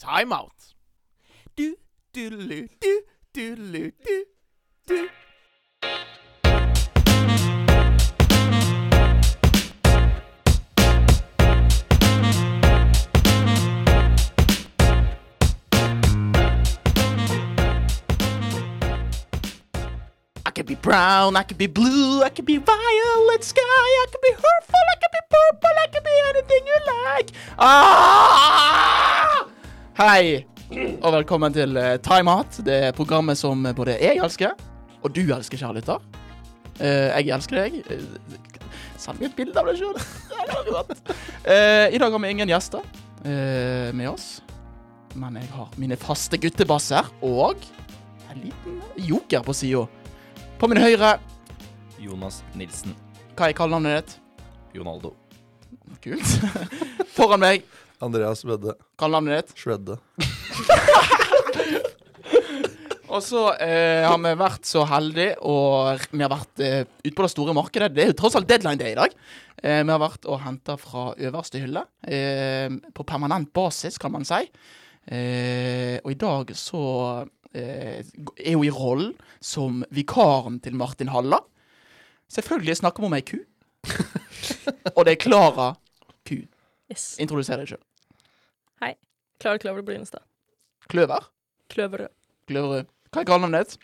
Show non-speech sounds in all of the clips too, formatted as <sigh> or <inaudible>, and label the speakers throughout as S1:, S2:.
S1: Timeout. Du, dudelu, du, dudelu, du, du. I could be brown, I could be blue, I could be violet sky, I could be hurtful, I could be purple, I could be anything you like. Ah! Hei, og velkommen til eh, Time Out. Det er programmet som både jeg elsker, og du elsker, kjære lytter. Eh, jeg elsker deg. Eh, Send meg et bilde av deg <laughs> sjøl. I dag har vi ingen gjester eh, med oss, men jeg har mine faste guttebasser og en liten joker på sida. På min høyre,
S2: Jonas Nilsen
S1: hva er kallenavnet ditt?
S2: Ronaldo.
S1: Kult. <laughs> Foran meg,
S3: Andreas Vedde.
S1: kallenavnet ditt.
S3: Shredde.
S1: Og så eh, har vi vært så heldige, og vi har vært eh, ute på det store markedet. Det er jo tross alt deadline day i dag. Eh, vi har vært og henta fra øverste hylle. Eh, på permanent basis, kan man si. Eh, og i dag så eh, er hun i rollen som vikaren til Martin Halla. Selvfølgelig snakker vi om ei ku. og det er Klara Ku.
S4: Yes.
S1: Introduser deg sjøl.
S4: Klara Kløver Brynestad.
S1: Kløver.
S4: Kløverød.
S1: Kløverud. Hva er kallenavnet ditt?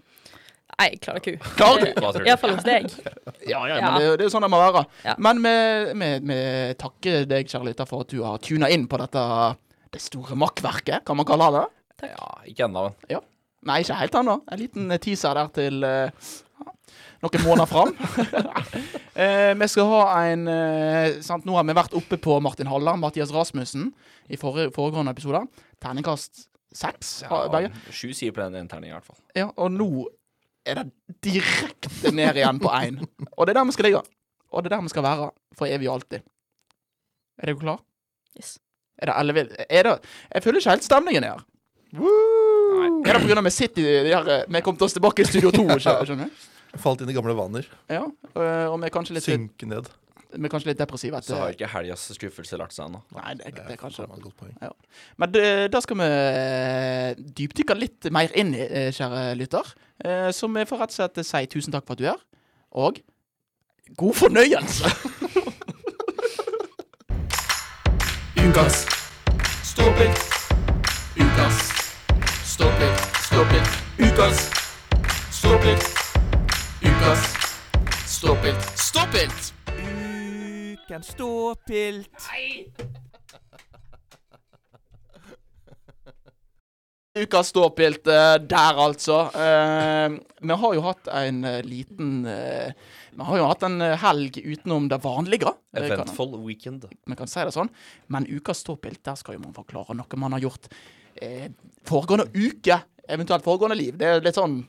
S4: Nei, Klara Ku.
S1: Klara Ku.
S2: Hva
S4: <laughs>
S2: tror du?
S4: Iallfall hos deg.
S1: Ja, ja, men
S4: Ja.
S1: det, er jo- det er jo sånn det må være.
S4: Ja.
S1: Men vi- vi vi takker deg, kjære lytter, for at du har tuna inn på dette det store makkverket, kan man kalle det.
S2: Ja, ikke ennå, men
S1: Nei, ikke helt ennå. En liten teaser der til eh, ja, noen måneder fram. <laughs> Eh, vi skal ha en eh, sant, Nå har vi vært oppe på Martin Halla, Mathias Rasmussen, i forrige, foregående episode. Terningkast seks, har begge.
S2: ja, sju sier på den ene terningen i hvert fall.
S1: Ja, og nå er det direkte ned igjen på én. Og det er der vi skal ligge. Og det er der vi skal være for evig og alltid. Er dere klar?
S4: Yes.
S1: Er det ellevill? Er det Jeg føler ikke helt stemningen her.
S2: Nei.
S1: Er det pga. vi sitter i de her eh, Vi kom til oss tilbake i Studio 2, skjø- <laughs> skjønner du?
S3: Falt inn i gamle vaner.
S1: Ja, øh, og vi er kanskje litt,
S3: Synke ned.
S1: vi er kanskje litt depressive
S2: Så har
S1: etter
S2: ikke helgas skuffelse lagt seg ennå.
S1: Nei, det, det er kanskje
S3: Faen,
S1: det.
S3: et godt poeng.
S1: Men det, da skal vi eh, dypdykke litt mer inn i, eh, kjære lytter. Eh, Så vi får rett og slett si tusen takk for at du er, og god fornøyelse! Ukas ståpilt. Ukas ståpilt, ståpilt. Ukas ståpilt. Ukas ståpilt, ståpilt.
S5: Ukens ståpilt.
S1: Ukas ståpilt eh, der, altså. Eh, vi har jo hatt en eh, liten eh, Vi har jo hatt en eh, helg utenom det vanlige. eh, kan-
S2: Eventful weekend.
S1: vi kan si det sånn. Men ukas ståpilt, der skal jo man forklare noe man har gjort eh, foregående uke. Eventuelt foregående liv. Det er litt sånn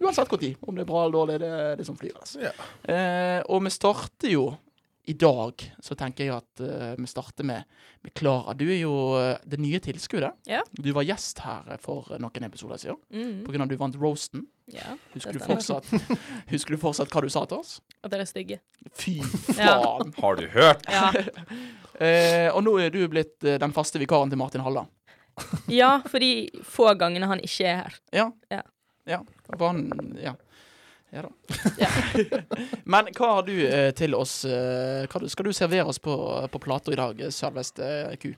S1: uansett når. Om det er bra eller dårlig, det er det som flyr. Altså.
S3: Ja.
S1: Eh, og vi starter jo i dag, så tenker jeg at eh, vi starter med, med Klara. Du er jo eh, det nye tilskuddet.
S4: Ja.
S1: Du var gjest her eh, for eh, noen episoder siden.
S4: Mm.
S1: På grunn av at du vant roasten.
S4: Ja.
S1: Husker
S4: det
S1: du,
S4: stemmer.
S1: fortsatt, <laughs> husker du fortsatt hva du sa til oss?
S4: At dere er stygge.
S1: Fy
S4: Ja.
S1: faen!
S2: Har du hørt?
S4: Ja.
S1: <laughs> Eh, og nå er du blitt eh, den faste vikaren til Martin Halla.
S4: <laughs> ja, for de få gangene han ikke er her.
S1: Ja.
S4: Ja.
S1: Ja, For han Ja. Ja da.
S4: Ja.
S1: <laughs> Men hva har du eh, til oss eh, hva du- Skal du servere oss på, på plata i dag, eh, selveste eh, ku?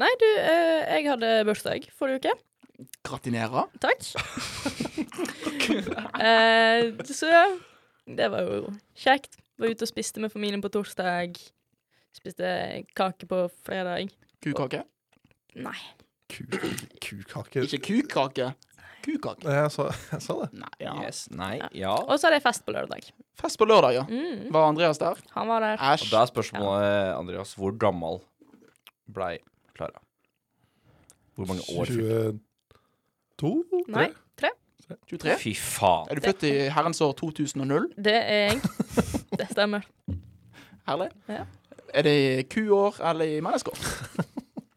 S4: Nei, du, eh, jeg hadde bursdag forrige uke.
S1: Gratinere?
S4: Takk. <laughs> eh, så det var jo kjekt. Var ute og spiste med familien på torsdag. Spiste kake på fredag.
S1: Kukake?
S4: Nei.
S3: Ku- Kukake.
S1: Ikke kukake. Kukake.
S3: Nei, jeg sa, jeg sa det.
S1: Nei, ja.
S2: Yes, nei, ja.
S4: Og så hadde jeg fest på lørdag.
S1: Fest på lørdag, ja.
S4: Mm.
S1: Var Andreas der?
S4: Han var der.
S2: Og
S1: Æsj.
S2: da er spørsmålet, Andreas, hvor gammel blei Klara? Hvor mange år fylte
S3: 22
S4: Nei,
S3: Tre?
S4: tre.
S1: 23?
S2: Fy faen.
S1: Er du født i herrens år 2000?
S4: Det er jeg. Det stemmer.
S1: Herlig.
S4: Ja.
S1: Er det i kuår eller i menneskeår?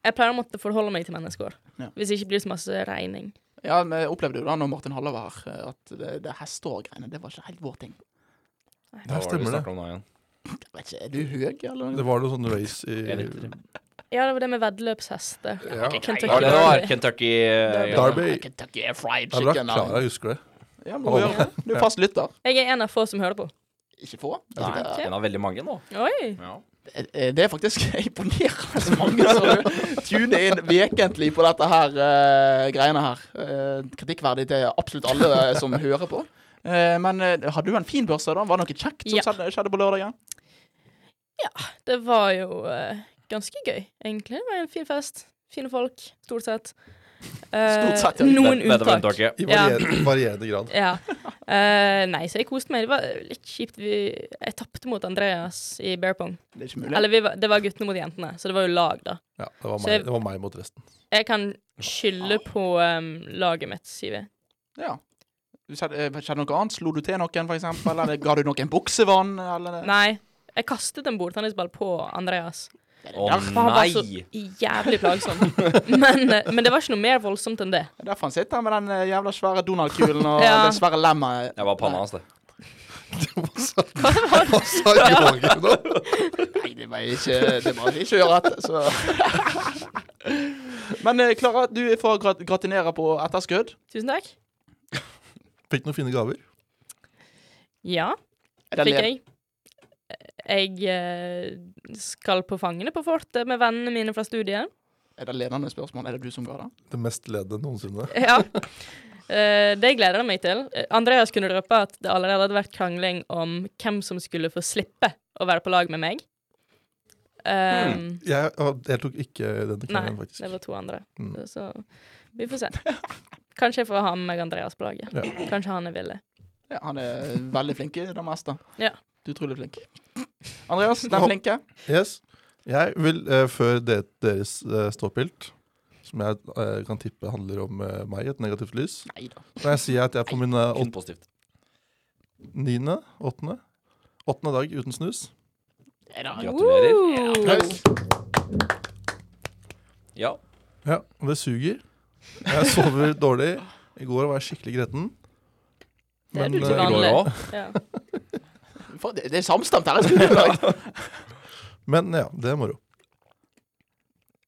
S4: Jeg pleier å måtte forholde meg til mennesker.
S1: Ja.
S4: Hvis ikke blir det så masse regning.
S1: Ja, vi opplevde jo da når Martin Halla var her, eh, at det, det hesteår-greiene, det var ikke helt vår ting.
S3: Ja,
S2: Hva var det
S3: stemmer
S2: vi
S3: det.
S2: snakket om nå igjen?
S1: Jeg vet ikke, Er du høy, eller?
S3: Det var noe sånn race i
S2: Jeg vet ikke.
S4: Ja, det var det med veddeløpshester.
S3: Ja.
S4: Kentucky
S2: Det var det det var.
S4: Derby.
S2: Kentucky
S4: Derby.
S2: eh, ja.
S3: Derby.
S1: Kentucky Air Fried
S3: Det er bra
S1: Chicken.
S3: Klara husker det.
S1: Ja, men du må gjøre det. Du er fast lytter.
S4: Jeg er en av få som hører på.
S1: Ikke få.
S3: Jeg tror
S1: Nei.
S2: En av veldig mange nå.
S4: Oi!
S2: Ja.
S1: Eh, Det er faktisk <laughs> imponerende mange som tuner inn vekentlig på dette her eh, greiene her. Eh, kritikkverdig til absolutt alle eh, som hører på. Eh, men eh, hadde du en fin børse, da? Var det noe kjekt som
S4: Ja.
S1: skjedde- skjedde på lørdagen?
S4: Det var jo eh, ganske gøy, egentlig. Det var en fin fest. Fine folk, stort sett. Eh,
S1: Stort sett, ja.
S4: noen
S2: Ved- ved- ved-
S4: unntak.
S2: unntaket.
S3: I
S4: Ja.
S3: varierende, varierende grad.
S4: Ja. Eh, nei, så jeg koste meg. Det var litt kjipt. Vi, jeg tapte mot Andreas i bear pong.
S1: Det er ikke mulig.
S4: Eller vi var, det var guttene mot jentene, så det var jo lag, da.
S3: Ja, det var,
S4: Så
S3: meg,
S4: jeg-
S3: det var meg mot resten. <laughs>
S4: Jeg kan skylde på em, laget mitt, sier vi.
S1: Ja. Du Skjedde, eh, skjedde noe annet? Slo du til noen, for eksempel? Eller ga du noen buksevann? Eller?
S4: Nei, jeg kastet en bordtennisball på Andreas.
S2: Å
S4: For han var så
S2: nei!
S4: jævlig plagsom. Men, eh, men det var ikke noe mer voldsomt enn det.
S1: Det er Derfor han sitter her med den eh, jævla svære Donald-kulen og
S4: <laughs> Ja.
S1: det svære lemmet.
S2: Det var panna hans, det.
S3: Hva sa Jørgen nå?
S1: Nei, det var ikke Det var ikke å gjøre rett,
S4: <laughs>
S1: så Men eh, Klara, du får grat gratinere på etterskudd.
S4: Tusen takk.
S3: Fikk noen fine gaver.
S4: Ja,
S1: Er det
S4: fikk
S1: led-
S4: jeg. Jeg eh, skal på Fangene på fortet med vennene mine fra studiet.
S1: Er det ledende spørsmål? Er det du som ga det?
S3: Det mest ledende noensinne.
S4: Ja. Eh, det gleder jeg meg til. Eh, Andreas kunne røpe at det allerede hadde vært krangling om hvem som skulle få slippe å være på lag med meg. Eh,
S3: Jeg, jeg tok ikke denne
S4: Nei,
S3: kvelden, faktisk.
S4: det var to andre.
S3: Mm.
S4: Så vi får se. Kanskje jeg får ha med meg Andreas på laget.
S3: Ja.
S4: Kanskje han er villig.
S1: Ja, han er veldig flink i det meste.
S4: Ja.
S1: Du er utrolig flink. Andreas, den flinke.
S3: Yes. Jeg vil, eh, før det, deres eh, ståpilt, som jeg eh, kan tippe handler om eh, meg i et negativt lys
S1: Nei da.
S3: Når jeg sier at jeg er på min eh,
S2: Kun
S3: åt-
S2: positivt.
S3: niende, åttende Åttende dag uten snus.
S1: Er det-
S2: Gratulerer.
S4: Woo!
S2: Ja.
S3: Ja, og det suger. Jeg sover dårlig. I går var jeg skikkelig gretten.
S4: Det er du
S3: Men,
S4: til
S3: eh,
S2: I går
S4: vanlig.
S2: òg. <laughs>
S4: Ja.
S1: For det, det er samstemt her i studio i dag.
S4: <laughs>
S3: Men ja, det er moro.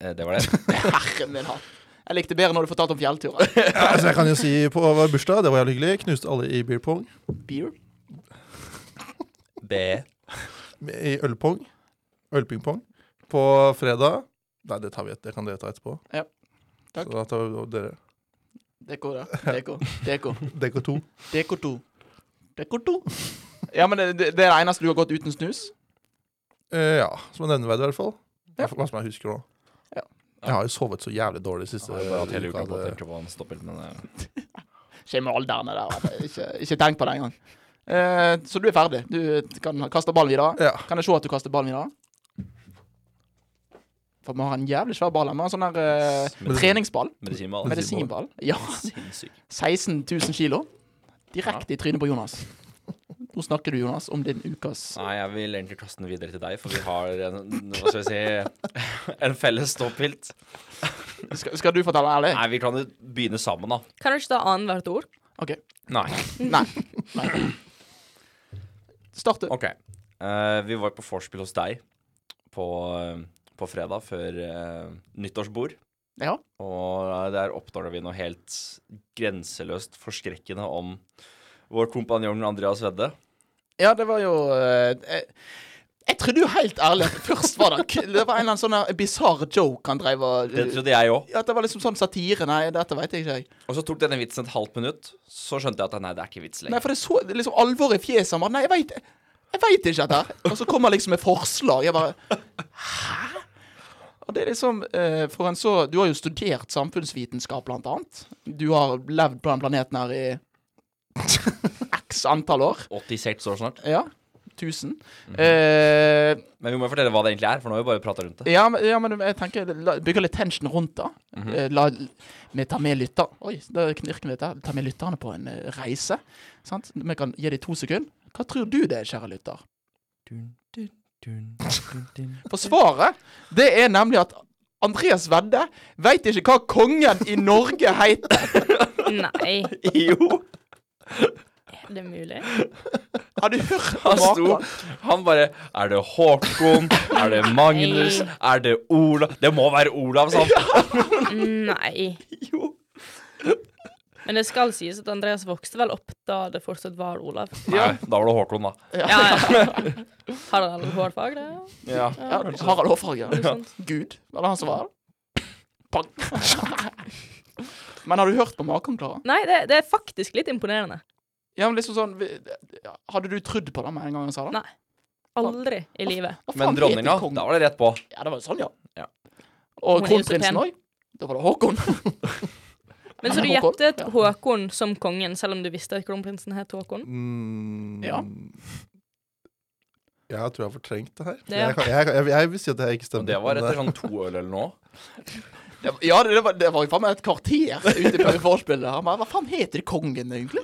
S2: Eh, Det var <laughs> det.
S1: Herre min hatt. Jeg likte bedre når du fortalte om fjellturer.
S3: Ja, altså, jeg kan jo si på vår bursdag, det var jævlig hyggelig. Knuste alle i beer pong.
S1: Beer?
S2: B.
S3: I ølpong. Ølpingpong. På fredag Nei, det tar vi et, det kan dere ta etterpå.
S1: Ja. Takk.
S3: Så da tar vi dere.
S1: Deko, <laughs> ja. Deko. Deko.
S3: DK2.
S1: Deko 2. Deko 2. <laughs> Ja, men det, det det er det eneste du har gått uten snus?
S3: Eh, ja, som er nevneverdig i hvert fall.
S1: Ja.
S3: Hva som jeg husker nå.
S1: Ja.
S3: Jeg har jo sovet så jævlig dårlig siste
S2: Jeg har bare hatt hele uka på å
S3: det-
S2: tenke på en stoppel, men eh,
S1: Ikke med alderen der. altså. Ikke, ikke tenk på det engang. Eh, så du er ferdig. Du kan kaste ballen videre.
S3: Ja.
S1: Kan jeg se at du kaster ballen videre? For vi har en jævlig svær ball. her. Vi har en sånn der eh,
S2: Medisin-
S1: treningsball.
S2: Medisinball. <laughs>
S1: Medisinball. Ja.
S2: Sinnssyk.
S1: 16 000 kilo. Direkte i trynet på Jonas. Nå snakker du, Jonas, om din ukas
S2: Nei, jeg vil egentlig kaste den videre til deg, for vi har en, hva skal jeg si, <laughs> en felles stopphilt.
S1: Skal, skal du fortelle ærlig?
S2: Nei, vi kan jo begynne sammen, da.
S4: Kan du ikke ta annethvert ord?
S1: OK.
S2: Nei.
S1: Nei. Nei. Start du.
S2: OK. Eh, vi var på vorspiel hos deg på, eh, på fredag før eh, nyttårsbord.
S1: Ja.
S2: Og eh, der oppdaga vi noe helt grenseløst forskrekkende om vår kompanjong Andreas Vedde.
S1: ja, det var jo eh, jeg, jeg trodde jo helt ærlig at først var det k- Det var en eller annen sånn der bisarr joke han drev og
S2: Det trodde jeg òg.
S1: Ja, At det var liksom sånn satire. Nei, dette veit jeg ikke. jeg.
S2: Og så tok denne vitsen et halvt minutt. Så skjønte jeg at nei, det er ikke vits
S1: Nei,
S2: lenger.
S1: for det så det er liksom alvoret i fjeset. han bare, Nei, jeg veit jeg vet ikke dette her. Og så kommer liksom et forslag. Jeg bare Hæ? Og det er liksom eh, For en så Du har jo studert samfunnsvitenskap, blant annet. Du har levd på den planeten her i x antall år.
S2: 86 år snart.
S1: Ja. 1000. eh,
S2: Men vi må jo fortelle hva det egentlig er, for nå har vi bare prata
S1: <laughs>
S2: rundt det.
S1: ja, men- ja, men jeg tenker la- Bygger litt tension rundt det. Eh, La Vi tar med lytter Oi, da knirker vi dette. Ta med lytterne på en eh, reise. Sant? Vi kan gi dem to sekunder. Hva tror du det er, kjære lytter? <laughs> For svaret, det er nemlig at Andreas Vedde veit ikke hva kongen i Norge heter.
S4: Nei.
S2: Jo!
S4: Det er mulig.
S1: Har du hørt
S2: Han
S1: om
S2: sto
S1: Håkon?
S2: Han bare Er det Håkon? Er det
S1: <laughs>
S2: Magnus? Er det Olav? Det må være Olav, sa han.
S4: Nei.
S1: Jo.
S4: Men det skal sies at Andreas vokste vel opp da det fortsatt var Olav.
S2: Nei, da var det Håkon, da.
S4: Ja, ja. Har han hårfag, det?
S2: Ja.
S1: Ja, Harald Hårfarge.
S4: Noe sånt.
S1: Gud, var det han som var her? Pang. men har du hørt på maken, Klara?
S4: Nei, det, det er faktisk litt imponerende.
S1: Ja, men liksom sånn vi- ja, Hadde du trodd på det med en gang han sa det?
S4: Nei. Aldri i livet.
S1: Hva faen
S2: Men
S1: heter
S2: dronninga,
S1: kongen?
S2: da var det rett på.
S1: Ja, det var jo sånn, ja.
S2: Ja.
S1: Og
S4: Hun er jo så
S1: kronprinsen
S4: pen.
S1: òg. Da var det Håkon.
S4: Men så du
S1: Håkon?
S4: gjettet
S1: Ja.
S4: Håkon som kongen, selv om du visste at kronprinsen het Håkon?
S3: Mm,
S1: Ja.
S3: Jeg tror jeg har fortrengt det her.
S4: Ja.
S3: Jeg, kan- jeg, jeg, jeg vil si at det ikke
S2: Og
S3: stemmer.
S2: det var
S3: men eh,
S2: etter sånn to øl eller noe.
S1: Det var- <laughs> Ja, det var, det var jo faen meg et kvarter ute på vorspielet. Han bare Hva faen heter kongen, egentlig?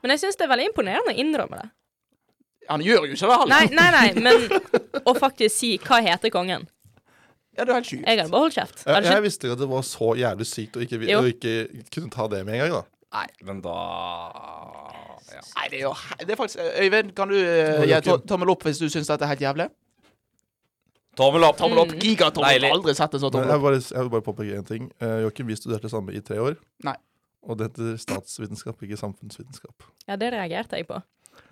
S4: Men jeg syns det er veldig imponerende å innrømme det.
S1: Han gjør jo ikke det, han.
S4: Nei, nei, nei, men å faktisk si 'hva heter kongen'?
S1: Ja, det er helt sjukt.
S4: Jeg hadde bare holdt kjeft.
S3: jeg,
S4: Hadde
S3: jeg
S4: ikke-
S3: visste ikke at det var så jævlig sykt å ikke, vi-
S4: Jo.
S3: å ikke kunne ta det med en gang. da
S2: Nei, men da ja.
S1: Nei, det er jo he- Det er faktisk Øyvind, kan du uh,
S3: Må
S1: gi
S3: dere-
S1: to- tommel opp hvis du syns dette er helt jævlig?
S2: Tommel opp.
S1: Tommel opp.
S4: Mm.
S1: Gigatommel. Jeg har
S2: Deilig.
S1: Aldri sett en sånn
S3: Men
S1: tommel
S3: jeg,
S1: opp.
S3: bare, jeg vil bare påpeke én ting. Eh, Joakim, vi studerte sammen i tre år.
S1: Nei.
S3: Og det heter statsvitenskap, ikke samfunnsvitenskap.
S4: Ja, det reagerte jeg på.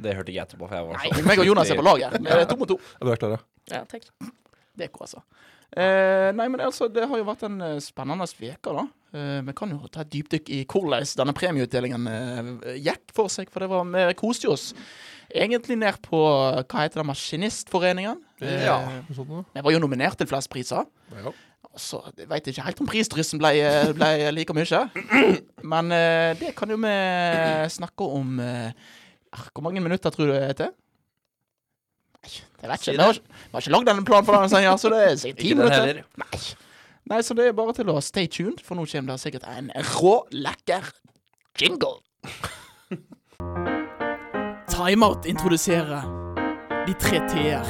S2: Det hørte jeg etterpå, for jeg var
S1: Nei,
S2: så
S1: meg og Jonas er
S2: <laughs>
S1: på lag her. Vi er to mot to.
S3: Er du klar, da?
S4: Ja, takk.
S1: Det går, altså. Eh, nei, men altså, det har jo vært en eh, spennende uke, da. Eh, Vi kan jo ta et dypdykk i hvordan denne premieutdelingen eh, gikk for seg. For det var, vi koste jo oss egentlig ned på eh, hva heter det, Maskinistforeningen. Eh,
S2: Ja.
S3: Noe sånt noe?
S1: Vi var jo nominert til flest priser.
S3: Ja.
S1: Og så veit jeg ikke helt om prisdryssen ble, eh, ble like mye. Men eh, det kan jo vi snakke om eh, ah, Hvor mange minutter tror du det er til? Nei, jeg vet
S2: Si
S1: ikke.
S2: det.
S1: Vi har, ikke- vi har ikke lagd en plan for denne sendinga, så det er sikkert ti
S2: Ikke den
S1: minutter.
S2: heller.
S1: Nei. Nei, så det er bare til å stay tuned, for nå kommer det sikkert en rå, lekker jingle. Timeout introduserer De tre t-er.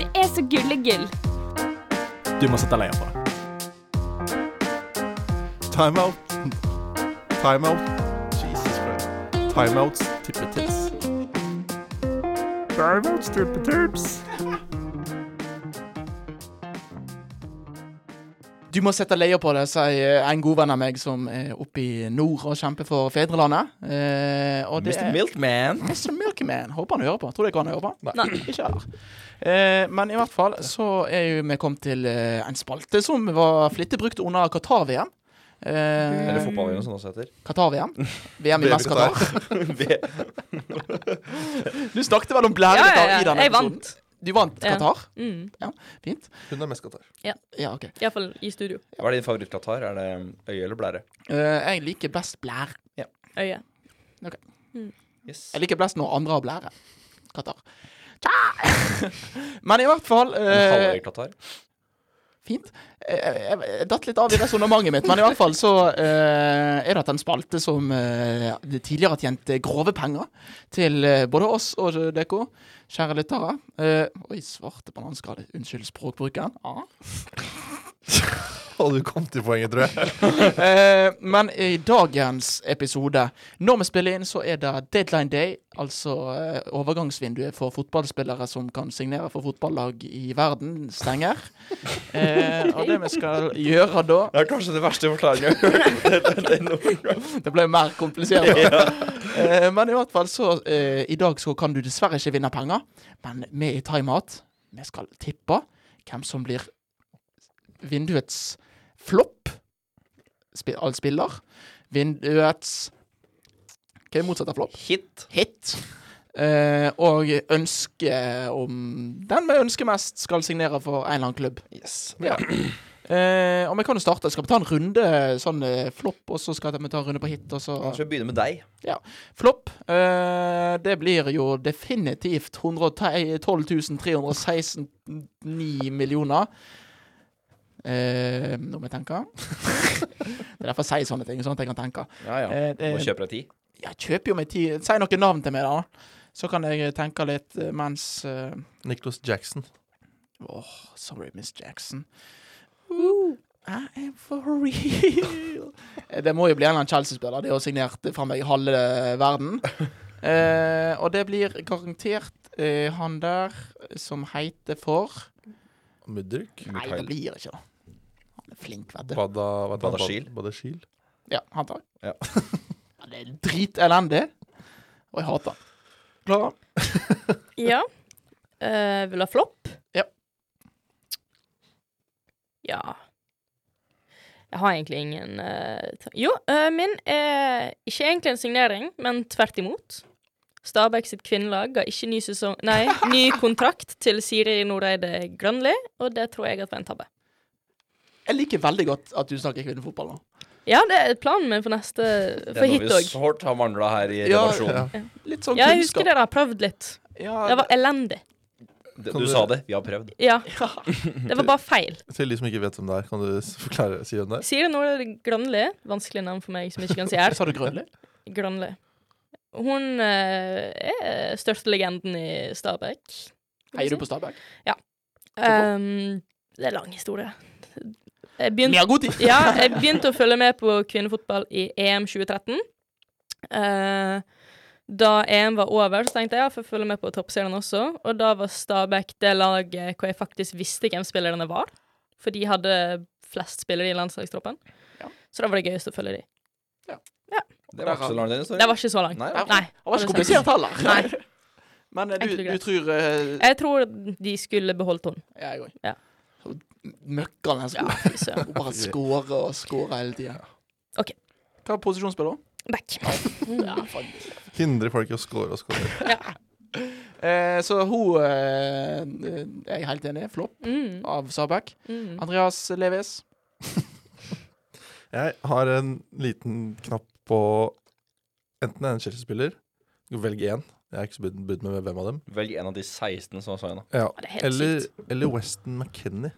S6: Det er så gullegull.
S7: Du må sette leia på det.
S3: Timeout. Timeout. Jesus Christ. Timeouts tippetips. Timeouts tippetips.
S1: Du må sette leia på det, sier en god venn av meg som er oppe i nord og kjemper for fedrelandet. Eh, og det
S2: Mr.
S1: er
S2: Milkman.
S1: Mr. Milkman. Håper han hører på. Tror du ikke han hører på?
S4: Nei.
S1: Ikke heller. Eh, men i hvert fall så er jo vi kommet til eh, en spalte som var flittig brukt under Qatar-VM. Eh,
S2: Eller fotball-VM, som det også heter.
S1: Qatar-VM. VM i mest Qatar.
S2: V-
S1: <laughs> Du snakket vel om
S4: Ja,
S1: blære
S4: ja,
S1: i
S4: ja.
S1: denne
S4: Jeg
S1: episoden.
S4: vant.
S1: Du vant
S4: Ja.
S1: Qatar?
S4: Mm.
S1: Fint.
S3: Hun er mest Qatar.
S1: Ja, OK.
S4: Iallfall i studio.
S2: Hva er din favoritt-Qatar? Er det øye eller blære?
S1: Eh, jeg liker best blære.
S4: Øye.
S2: Yes.
S1: Jeg liker best når andre har blære. Qatar. Tja! <laughs> Men i hvert fall eh,
S2: Halvøy-Qatar?
S1: Fint. Eh, Jeg, jeg datt litt av i resonnementet mitt, men i hvert fall så eh, er det en spalte som eh, det tidligere har tjent eh, grove penger til eh, både oss og dere, kjære lyttere. Eh, oi, svarte bananskall. Unnskyld språkbruken. Ah.
S3: Og du kom til poenget, tror jeg.
S1: Eh, men i dagens episode, når vi spiller inn, så er det deadline day, altså eh, overgangsvinduet for fotballspillere som kan signere for fotballag i verden, stenger. Eh, og det vi skal gjøre da
S2: Det er kanskje det verste forklaringen jeg har hørt. <laughs> Det- det- det- det-
S1: Det ble mer komplisert. Eh, men i hvert fall så eh, I dag så kan du dessverre ikke vinne penger, men vi i Timeout Vi skal tippe hvem som blir vinduets flopp spi all spiller. Vinduets Hva er motsatt av flopp?
S2: Hit.
S1: Hit. Eh, og ønske om Den vi ønsker mest, skal signere for en eller annen klubb.
S2: Yes.
S1: Ja. Eh, og vi kan jo starte. Skal vi ta en runde sånn eh, flopp, og så skal vi ta en runde på hit, og så
S2: Kanskje vi begynner med deg.
S1: Flopp. eh, det blir jo definitivt 112 316 9 millioner. Eh, nå må jeg tenke. <laughs> det er derfor jeg sier sånne ting, sånn at jeg kan tenke.
S2: Ja, ja.
S1: Eh, det,
S2: Nå kjøper jeg ti.
S1: jeg kjøper jo meg tid. Si noen navn til meg, da. Så kan jeg tenke litt eh, mens eh,
S3: Nicholas Jackson.
S1: Sorry, Miss Jackson. Ooh, I am for real. Eh, Det må jo bli en eller annen Chelsea-spiller. Det er jo signert fra meg halve
S4: <laughs>
S1: verden. Eh, og det blir garantert eh, han der som heter for
S3: Mudrik.
S1: Nei, det blir ikke det. Han er flink, vet du.
S3: Bada, hva heter han?
S2: Badashil.
S3: Bad- Badashil.
S1: Ja, han tar.
S2: Ja.
S1: <laughs> Ja, det er dritelendig, og jeg hater han.
S3: Klara.
S4: Ja. Eh, vil ha flopp?
S1: Ja.
S4: Ja Jeg har egentlig ingen eh, ta- Jo, eh, min er ikke egentlig en signering, men tvert imot. Stabæk sitt kvinnelag ga ikke ny sesong
S2: <laughs>
S4: Nei, ny kontrakt til Siri Noreide Grønli, og det tror jeg at var en tabbe.
S1: Jeg liker veldig godt at du snakker kvinnefotball nå.
S4: Ja, det er planen min for neste For hit
S2: Det er noe vi
S4: òg.
S2: sårt har mangla her i
S1: Ja,
S2: redaksjonen.
S1: Litt sånn
S4: Ja, jeg husker
S1: kunnskap.
S4: dere har prøvd litt.
S1: Ja,
S4: Det var elendig.
S2: Det-
S3: Kan
S2: Du
S3: du-
S2: sa det, vi har prøvd.
S4: Ja,
S1: ja. <laughs>
S4: det var bare
S2: <laughs>
S4: feil.
S3: Til de som ikke vet hvem det er, kan du s- forklare si hvem det er?
S4: Siri Noreide Grønli, vanskelig navn for meg som ikke kan si R.
S1: Sa du grønlig?
S4: Grønli. Hun eh, er største legenden i Stabæk.
S1: Heier du på Stabæk?
S4: Um, det er lang historie. Jeg
S1: Vi
S4: begynte,
S1: har god tid.
S4: <laughs> ja, jeg begynte å følge med på kvinnefotball i EM 2013. Eh, da EM var over, så tenkte jeg ja, får følge med på toppserien også. Og da var Stabæk det laget hvor jeg faktisk visste hvem spillerne var. For de hadde flest spillere i landslagstroppen.
S1: Ja.
S4: Så da var det gøyest å følge de.
S2: Det var ikke så lang den historien.
S4: Det var ikke så langt.
S2: Nei,
S4: Nei.
S2: det var-
S1: Han var ikke komplisert heller.
S4: Nei.
S1: <laughs> Men eh,
S4: Jeg
S1: du, du
S4: tror det.
S1: tror eh,
S4: Jeg tror de skulle beholdt henne.
S1: Jeg òg.
S4: Ja.
S1: Møkkane
S4: Ja,
S1: skal
S4: fy
S1: <laughs>
S4: søren.
S1: hun bare score og score hele tida.
S4: Ok.
S1: Hva er posisjonsspiller?
S4: Back.
S1: Ja, faen.
S3: Hindre folk i å score og score.
S1: eh, så hun eh, Jeg er helt enig. Flopp
S4: Mm,
S1: av Sabek.
S4: mm.
S1: Andreas Leves.
S3: Jeg har en liten knapp på enten en Chelsea-spiller, velg én. Jeg har ikke så budd budd med hvem av dem.
S2: Velg en av de 16 som sa nå.
S3: Ja.
S4: det er helt
S3: Eller, eller Weston McKenny.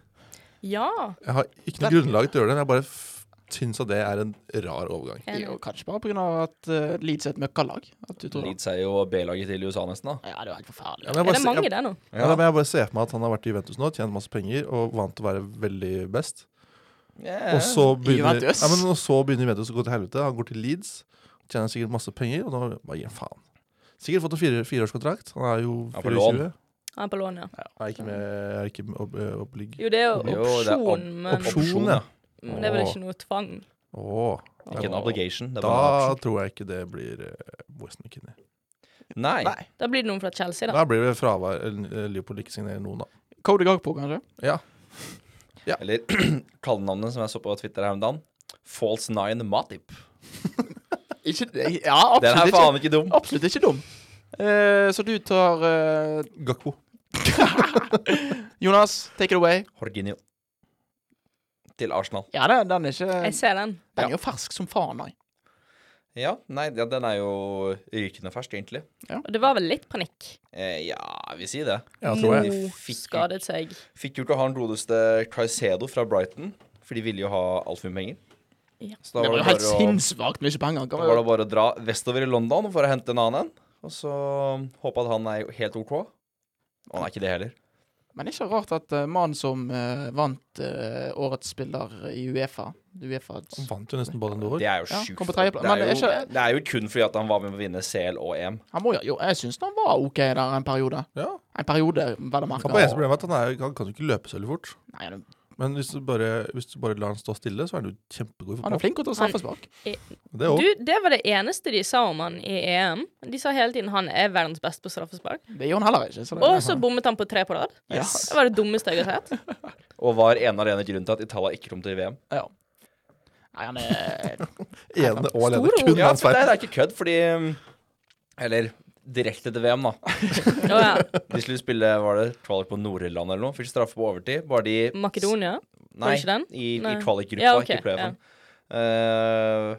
S4: Ja.
S3: Jeg har ikke noe grunnlag til å gjøre det, men jeg bare f- syns at det er en rar overgang.
S1: Det er
S4: enig.
S1: jo kanskje bare pga. at eh, Leeds er et møkkalag. At du tror det.
S2: Leeds er jo B-laget til USA nesten, da.
S1: Ja, det er jo helt
S3: Ja,
S1: forferdelig.
S3: men jeg
S4: Er
S3: bare
S4: det
S3: se-
S4: mange
S3: jeg-
S4: der nå?
S3: ja, men jeg bare ser for meg at han har vært i Juventus nå, tjent masse penger og vant til å være veldig best.
S2: Yeah.
S3: Og så begynner,
S1: Juventus.
S3: ja, men, og så begynner Juventus å gå til helvete. Han går til Leeds, tjener sikkert masse penger, og da bare gir han faen. Sikkert fått en fire, fireårskontrakt. Han er jo
S2: Ja, på lån.
S3: 24.
S4: Han er på lån, ja.
S3: Er ikke med, er ikke med opp, øh, oppligg.
S4: Jo, det er jo
S2: Jo, det er
S4: opsjon,
S2: op-
S4: men,
S3: opsjon.
S2: Opsjon, ja.
S4: men det er vel ikke noe tvang.
S3: Åh,
S2: Ikke en obligation. Det er bare en
S3: da
S2: opsjon.
S3: tror jeg ikke det blir uh, Weston McKinney.
S2: Nei.
S4: Da blir det noen fra Chelsea, da.
S3: Da blir det fravær eller, eh, Liverpool ikke signerer noen, da.
S1: Cody Gagpo,
S4: <laughs>
S1: kanskje?
S3: Ja.
S2: Eller <clears throat> kallenavnet som jeg så på Twitter her om dagen. False Nine Matip.
S1: Ikke, ja,
S2: Den er
S1: absolutt ikke.
S2: faen ikke dum.
S1: Absolutt ikke dum. Eh, så du tar eh,
S3: Gakpo.
S1: Jonas, take it away.
S2: Jorginho. Til Arsenal.
S1: Ja, den, den er ikke
S4: Jeg ser den.
S1: Den er jo fersk som faen, nei.
S2: Ja, nei, ja, den er jo rykende fersk, egentlig.
S4: Og det var vel litt panikk.
S2: Eh, ja, vi sier det.
S3: Ja, tror jeg.
S4: Mo
S2: Fikk-
S4: skadet seg.
S2: Fikk jo ikke han godeste Caicedo fra Brighton, for de ville jo ha altfor mye penger.
S4: Ja.
S2: Så da
S1: det var
S2: var det,
S1: jo helt
S2: bare å,
S1: sinnssvakt mye penger.
S2: da
S1: Kan
S2: var det
S1: vi-
S2: bare å dra vestover i London for å hente en annen en. Og så håpe at han er helt OK. Og han er ikke det heller.
S1: Men det er ikke rart at uh, mannen som eh, vant eh, årets spiller i Uefa, UEFA
S3: Han vant jo nesten Ballon d'Or.
S2: Det er jo
S1: Ja,
S2: sjukt.
S1: kom på
S2: Det,
S1: tredjeplass.
S2: er
S1: Men det er
S2: jo-
S1: ikke-
S2: det er jo kun fordi at han var med på å vinne CL og EM.
S1: han må, jo- Jo, jeg syns han var OK der en periode.
S3: Ja.
S1: En periode, vel å
S3: Han, på eneste
S1: merke.
S3: problemet er at han, er, han kan jo ikke løpe så veldig fort.
S1: Nei, han-
S3: Men hvis du, bare, hvis du bare lar han stå stille, så er han jo kjempegod i
S1: Han er
S3: fotball.
S1: flink til å ta straffespark.
S3: Det
S4: Du,
S3: òg.
S4: det var det eneste de sa om han i EM. De sa hele tiden han er verdens beste på straffespark.
S1: Det gjør han heller ikke. Så det,
S4: Og så bommet han på tre på rad.
S1: Ja.
S4: Det var det dummeste jeg har sett.
S2: Og var ene og alene grunnen til at Italia ikke kom til VM.
S1: ja. Nei, han
S2: <laughs>
S1: er
S3: Ene og alene.
S4: Stor
S3: Kun
S2: Ja,
S3: hans
S2: for det
S3: feil.
S2: er ikke kødd, fordi mm, Eller direkte til VM, da.
S4: Å ja.
S2: De skulle spille var det kvalik på Nord-Irland eller noe. Fikk straffe på overtid. Bare de
S4: Makedonia.
S2: Nei,
S4: ikke den?
S2: i, i
S4: Nei.
S2: kvalikgruppa,
S4: Ja, ok,
S2: ikke playoffen. Eh,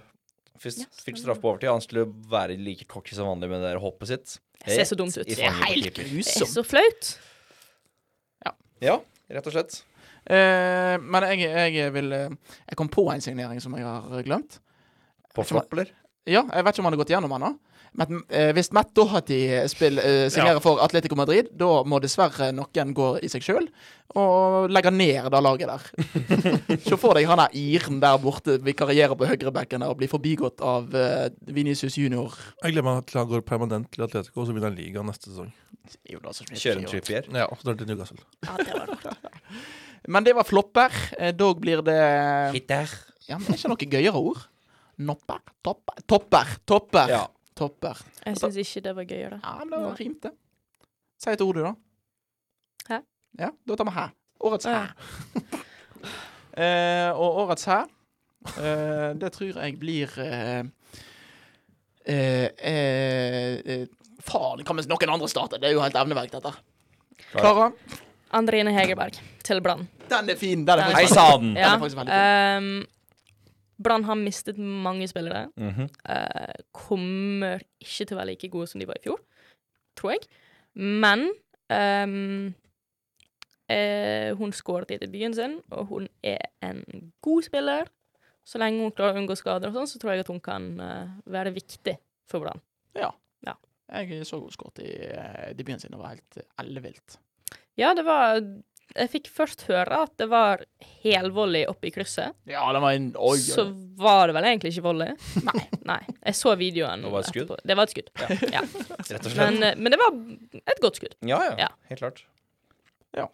S2: fikk,
S4: Ja,
S2: fikk
S4: stemmer.
S2: straff på overtid. Han skulle være like cocky som vanlig med det der hoppet sitt.
S4: Det ser så dumt ut.
S2: I
S4: Det
S1: Det er
S2: fanget på
S1: helt
S2: keeper.
S4: Det er
S1: grusomt.
S4: så flaut.
S2: Ja, rett og slett.
S1: Eh, men jeg, jeg vil eh, Jeg kom på en signering som jeg har eh, glemt.
S2: På
S1: flopp,
S2: flopp, eller?
S1: Ja, jeg vet ikke om han har gått gjennom ennå. Matt, eh, hvis Matt Doherty spill, eh, signerer for Atletico Madrid, da må dessverre noen gå i seg sjøl og legge ned det laget der. <laughs> Se for deg han er iren der borte, vikarierer på høyrebacken der og blir forbigått av eh, Vinicius junior.
S3: Jeg gleder meg til han går permanent til Atletico, og så vinner han ligaen neste sesong.
S1: Jo, det er så mye
S2: Kjøre
S1: å
S2: en
S1: gjøre.
S2: trippier.
S3: Ja, så drar han til Newcastle.
S1: Men det var flopper. Eh, Dog blir det
S2: Hitter.
S1: Ja, men er ikke noe gøyere ord? Nopper? Topper? Topper. Topper.
S2: Ja.
S1: Topper.
S4: Jeg syns ikke det var gøyere.
S1: Ja, men det var rimt, det. Si et ord, du, da.
S4: Hæ?
S1: Ja, da tar vi hæ. Årets
S4: Å,
S1: hæ.
S4: ja.
S1: <laughs> Eh, og årets hæ, eh, det tror jeg blir eh, eh, eh, eh, Faen, kan vi- noen andre starte? Det er jo helt evneverk, dette. Klara,
S4: Andrine Hegerberg til Brann.
S1: den er fin. Den er
S2: Hei
S1: faktisk,
S2: sann!
S1: den
S4: Ja.
S1: er faktisk veldig fin.
S4: ehm, Brann har mistet mange spillere.
S2: Mhm.
S4: eh, kommer ikke til å være like gode som de var i fjor, tror jeg. Men ehm, eh, hun skåret i debuten sin, og hun er en god spiller. Så lenge hun klarer å unngå skader, og sånn, så tror jeg at hun kan eh, være viktig for Brann.
S1: Jeg så henne skåret i eh, debuten sin. Det var helt eh, ellevilt.
S4: Ja, det var Jeg fikk først høre at det var helvolley oppe i krysset.
S1: Ja, den var en Oi,
S4: så
S1: oi.
S4: var det vel egentlig ikke volley. Nei. nei. Jeg så videoen.
S2: Det var et skudd?
S4: etterpå. Det var et skudd. Ja.
S2: Rett og slett.
S4: Men, eh, men det var et godt skudd.
S2: Ja, ja.
S4: Ja.
S2: Helt klart.
S1: Ja.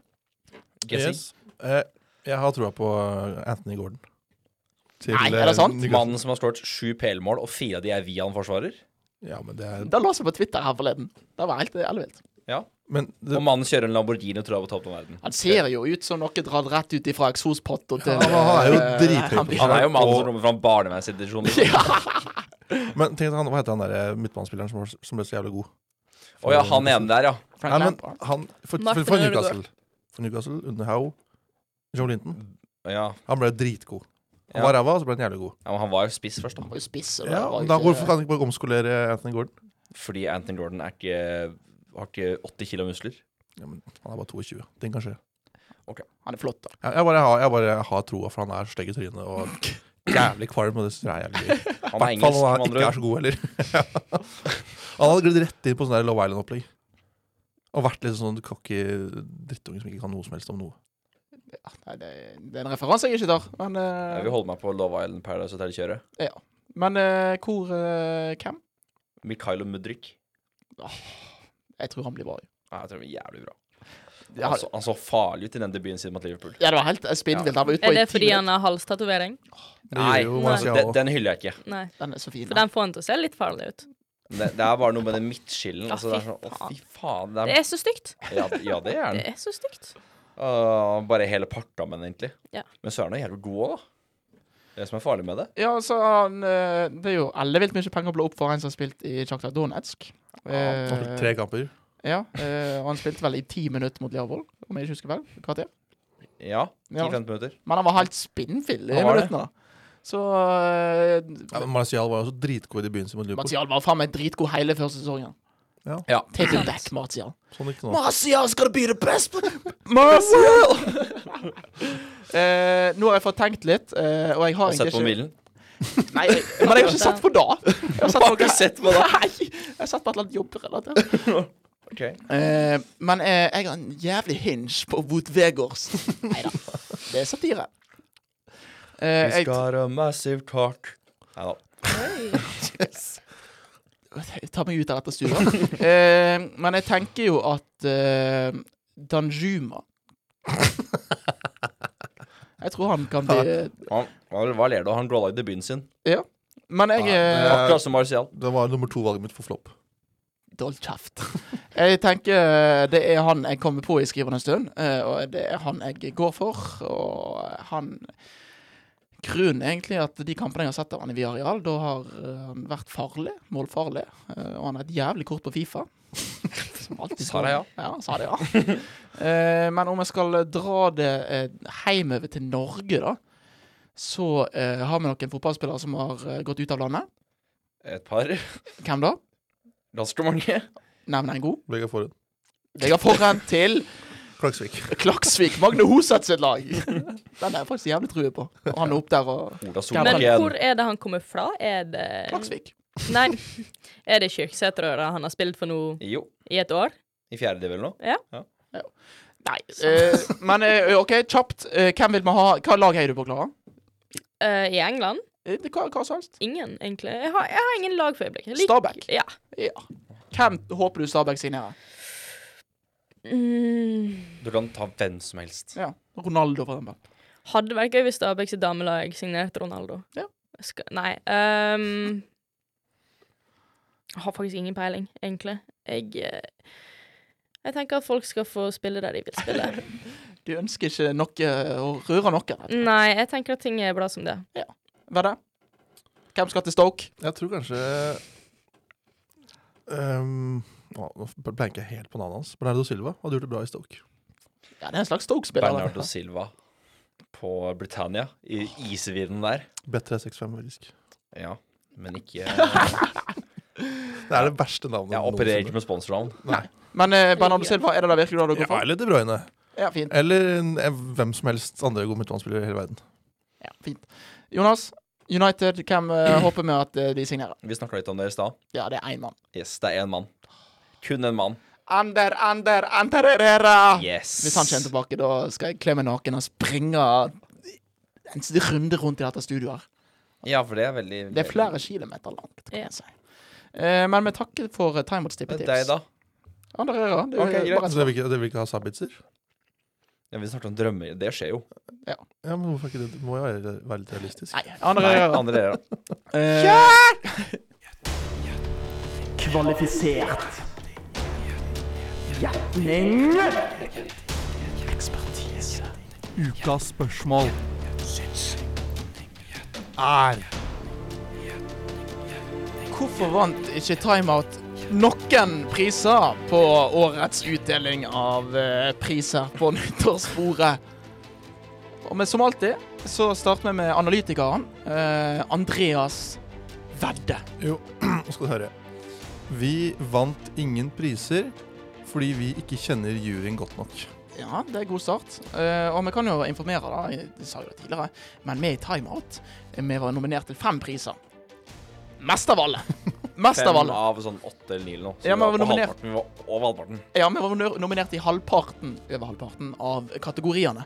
S2: Guessing.
S3: Yes. Eh, jeg har troa på eh, Anthony Gordon. Til,
S1: Nei, er det
S3: eh,
S1: sant?
S3: Newcastle.
S2: Mannen som har skåret sju PL-mål, og fire av de er via en forsvarer.
S3: Ja, men det er
S1: Da la jeg på Twitter her forleden. Det var helt eh, ellevilt.
S3: Men det,
S2: Og mannen kjører en Lamborghini og tror han har toppen av verden.
S1: Han ser jo ut som noe dratt rett ut ifra eksospotta til eh,
S3: Ja, han er jo drithøy
S1: Han
S3: på
S1: blir- <laughs>
S2: Han er jo mannen
S3: Og-
S2: som kommer fra en barnevernsinstitusjon.
S3: <laughs>
S2: Liksom.
S3: men tenk, at han, hva heter han der eh, midtbanespilleren som, var- som ble så jævlig god?
S2: Å ja, han ene der, ja.
S1: Frank
S3: Nei, men
S1: Lampard.
S3: han For, for,
S4: Martin
S3: for
S4: Ødegaard.
S3: Newcastle. For Newcastle, under Howe, Joe Linton.
S2: ja.
S3: Han ble dritgod. Han
S2: Ja.
S3: var ræva, og så ble han jævlig god.
S2: Ja, men han var jo spiss først,
S1: Han
S2: da.
S1: var jo spiss. og det
S3: Ja,
S1: var jo
S3: men da
S1: ikke-
S3: Hvorfor kan han ikke bare omskolere Anthony Gordon?
S2: Fordi Anthony Gordon er ikke, har ikke 80 kilo musler.
S3: Ja, men han er bare 22. Ting kan skje.
S1: Han er flott, da.
S3: Jeg, jeg, bare, har, jeg bare har troa, for han er stygg i trynet og jævlig kvalm. Og det synes jeg er jævlig gøy.
S2: Han er
S3: I hvert
S2: engelsk,
S3: fall når
S2: med
S3: han
S2: andre
S3: ikke er
S2: ord.
S3: så god heller. <laughs> han hadde glidd rett inn på sånn der Love Island-opplegg. Og vært litt sånn cocky drittunge som ikke kan noe som helst om noe.
S1: Ja, nei, det, det er en referanse jeg ikke tar. Men, eh,
S2: Jeg vil holde meg på Love Island Paradise Hotel-kjøret.
S1: men eh, hvor eh, Hvem?
S2: Mikhailo Mudrik.
S1: Jeg tror han blir bra. jo.
S2: Nei, jeg tror det blir jævlig bra.
S1: Ja,
S2: Han så, han så farlig ut i den debuten sin mot Liverpool.
S1: ja, det var helt eh, spinnvilt. Han var ute på
S4: Er
S1: i
S4: det
S1: ti
S4: fordi han
S1: minutter.
S4: har halstatovering?
S3: Det
S2: Nei,
S3: gjorde jo
S4: nei.
S3: Marcial
S2: Altså, Den,
S3: også.
S2: den hyller jeg ikke.
S4: Nei.
S1: Den er så fin.
S4: For
S1: da.
S4: den får han til å se litt farlig ut.
S2: Det, det er bare noe med den midtskillen.
S4: Ja,
S2: Altså, det er sånn,
S4: fy
S2: å, fy faen.
S4: Det
S2: Det er,
S4: er så stygt.
S2: ja, ja, det er
S4: Det
S2: den.
S4: er så stygt.
S2: Åh, bare hele partammen, egentlig.
S4: Ja.
S2: Men så er han jo jævlig god òg, da. Det som er farlig med det.
S1: Ja, så han eh, Det er jo ellevilt mye penger å blå opp for en som har spilt i Sjakta Donetsk.
S3: Han har spilt Tre kamper.
S1: ja, eh, og han spilte vel i ti minutter mot Liverpool, om jeg ikke husker vel. Kvarter.
S2: Ja,
S1: Ja.
S2: 10-15 minutter.
S1: Men han var helt spinnfill i
S2: Han var det.
S1: minuttene. Så uh,
S3: Ja, men Martial var jo også dritgod i debuten sin mot Liverpool.
S1: Martial var faen meg dritgod hele første sesongen.
S3: Ja.
S2: Ja.
S1: Take it back, Martial.
S3: Sånn ikke nå.
S1: Martial skal det be the best
S2: <laughs>
S1: Martial! <laughs> Eh, nå har jeg fått tenkt litt, eh, og jeg har
S2: Har sett
S1: egentlig
S2: på Millen.
S1: ikke Nei, jeg- Men jeg har ikke sett på
S2: <laughs>
S1: det. Jeg har sett på,
S2: ikke sett på det?
S1: <laughs> Nei, jeg har sett på et eller annet jobbrelatert.
S2: Ok.
S1: Eh, men eh, jeg har en jævlig hinge på Woot Vegårs.
S2: <laughs>
S1: Nei da. Det er satire. Eh,
S2: He's
S1: jeg,
S2: got a massive cock. Nei da.
S1: jeg tar meg ut av dette studioet. <laughs> Eh, men jeg tenker jo at eh, Danjuma Jeg tror han kan bli
S2: Han, han- hva ler du av? Han grolla i debuten sin.
S1: Men jeg eh,
S2: Akkurat som Marcial.
S3: Det var nummer to valget mitt for flopp.
S1: Hold kjeft. <laughs> Jeg tenker eh, det er han jeg kommer på i skrivende stund, eh, og det er han jeg går for. Og eh, han Grunnen er egentlig at de kampene jeg har sett av han i Viareal, da har eh, han vært farlig, målfarlig, eh, og han har et jævlig kort på Fifa. <laughs> Som alltid
S2: Sa det, ja.
S1: Ja, han sa det, ja. <laughs> Eh, Men om jeg skal dra det eh, hjemover til Norge, da, så eh, har vi noen fotballspillere som har eh, gått ut av landet.
S2: Et par. <laughs>
S1: Hvem da?
S2: Ganske mange.
S1: Nevn
S2: <laughs>
S1: en god.
S3: Vegard Forhund.
S1: Jeg har foran til
S3: Klaksvik.
S1: Klaksvik, Magne Hoseth sitt lag. Den er jeg faktisk jævlig true på. Og han er opp der og
S2: Ola
S1: Ja,
S4: Men
S2: Solbakken.
S4: hvor er det han kommer fra? Er det
S1: Klaksvik.
S4: <laughs> Nei. Er det Kyrksæter han har spilt for nå
S2: Jo.
S4: i et år?
S2: I fjerde div eller noe.
S1: Nei. eh, men eh, OK, kjapt. Eh, hvem vil vi ha? Hva lag heier du på, Klara?
S4: Eh, I England?
S1: Eh, Hva, hva som helst.
S4: Ingen, egentlig. Jeg har, jeg har ingen lag for øyeblikket. Jeg liker-
S1: Stabæk.
S4: Ja.
S1: Ja. Hvem håper du Stabæk signerer?
S4: Mm.
S2: Du kan ta hvem som helst.
S1: Ja. Ronaldo, for eksempel.
S4: Hadde vært gøy hvis Stabæks damelag signerte Ronaldo.
S1: Ja.
S4: Jeg Skal, nei ehm, Jeg har faktisk ingen peiling, egentlig. Jeg eh, Jeg tenker at folk skal få spille der de vil
S1: <laughs>
S4: spille.
S1: De ønsker ikke noe å røre noe. rett og slett.
S4: Nei, jeg tenker at ting er bra som det.
S1: Hva er det? Hvem skal til Stoke?
S3: Jeg tror kanskje ehm, å, Nå blanker jeg helt på navnet hans. Bernardo Silva hadde gjort det bra i Stoke.
S1: Ja, det er en slags Stoke-spiller. da.
S2: Bernardo Silva på Britannia. I isvinden der.
S3: B365, faktisk.
S2: Ja. Men
S1: <laughs>
S2: ikke Jeg
S3: Det er det verste navnet.
S2: opererer ikke med sponsornavn.
S1: Men eh, Bernardo Silva, er det da virkelig det du går
S3: Ja,
S1: for?
S3: eller De Bruyne.
S1: Ja, fint.
S3: Eller en- eh, hvem som helst andre gode midtbanespillere i hele verden.
S1: Ja, fint. Jonas, United, hvem eh, håper vi at eh, de signerer?
S2: Vi snakka litt om det i stad.
S1: Ja, det er én mann.
S2: Yes, det er én mann. Kun en mann.
S1: Ander, Ander, Ander Herrera!
S2: Yes.
S1: Ah, Hvis han kommer tilbake, da skal jeg kle meg naken og springe en runde rundt i dette studioet. her.
S2: Ja, for det er veldig
S1: Det er flere kilometer langt, kan
S4: Ja.
S1: jeg si. Eh, men vi takker for eh,
S2: Det
S1: timeouts-tippetips.
S2: er deg, da.
S1: Andre ører. Det er
S2: Ok, greit.
S1: bare en sånn-
S3: Så
S1: sak.
S3: det vil ikke, det vil ikke ha sabitser?
S2: Ja, vi snakket om drømmer. Det skjer jo.
S3: Ja, men hvorfor ikke det? Det må jo være, være litt realistisk.
S1: Nei, andre
S2: Nei,
S1: ører.
S2: andre dere,
S1: <laughs>
S2: da.
S1: Eh,
S5: Kvalifisert. Gjetning. Ekspertise. Ukas spørsmål. Er
S1: Hvorfor vant ikke Timeout noen priser på årets utdeling av eh, priser på nyttårsbordet? Og men som alltid så starter vi med analytikeren eh, Andreas Vedde.
S3: Jo, <clears throat> nå skal du høre. Vi vant ingen priser fordi vi ikke kjenner juryen godt nok.
S1: Ja, det er god start. Eh, og vi kan jo informere, da, jeg sa jo det tidligere, men vi i Timeout eh, vi var nominert til fem priser. Mest av alle. Mest av
S2: Fem
S1: alle.
S2: av sånn åtte eller ni eller noe. Så
S1: Ja,
S2: vi
S1: men
S2: var på
S1: nominert-
S2: halvparten. Vi var over halvparten.
S1: Ja, vi var no- nominert i halvparten, over halvparten, av kategoriene.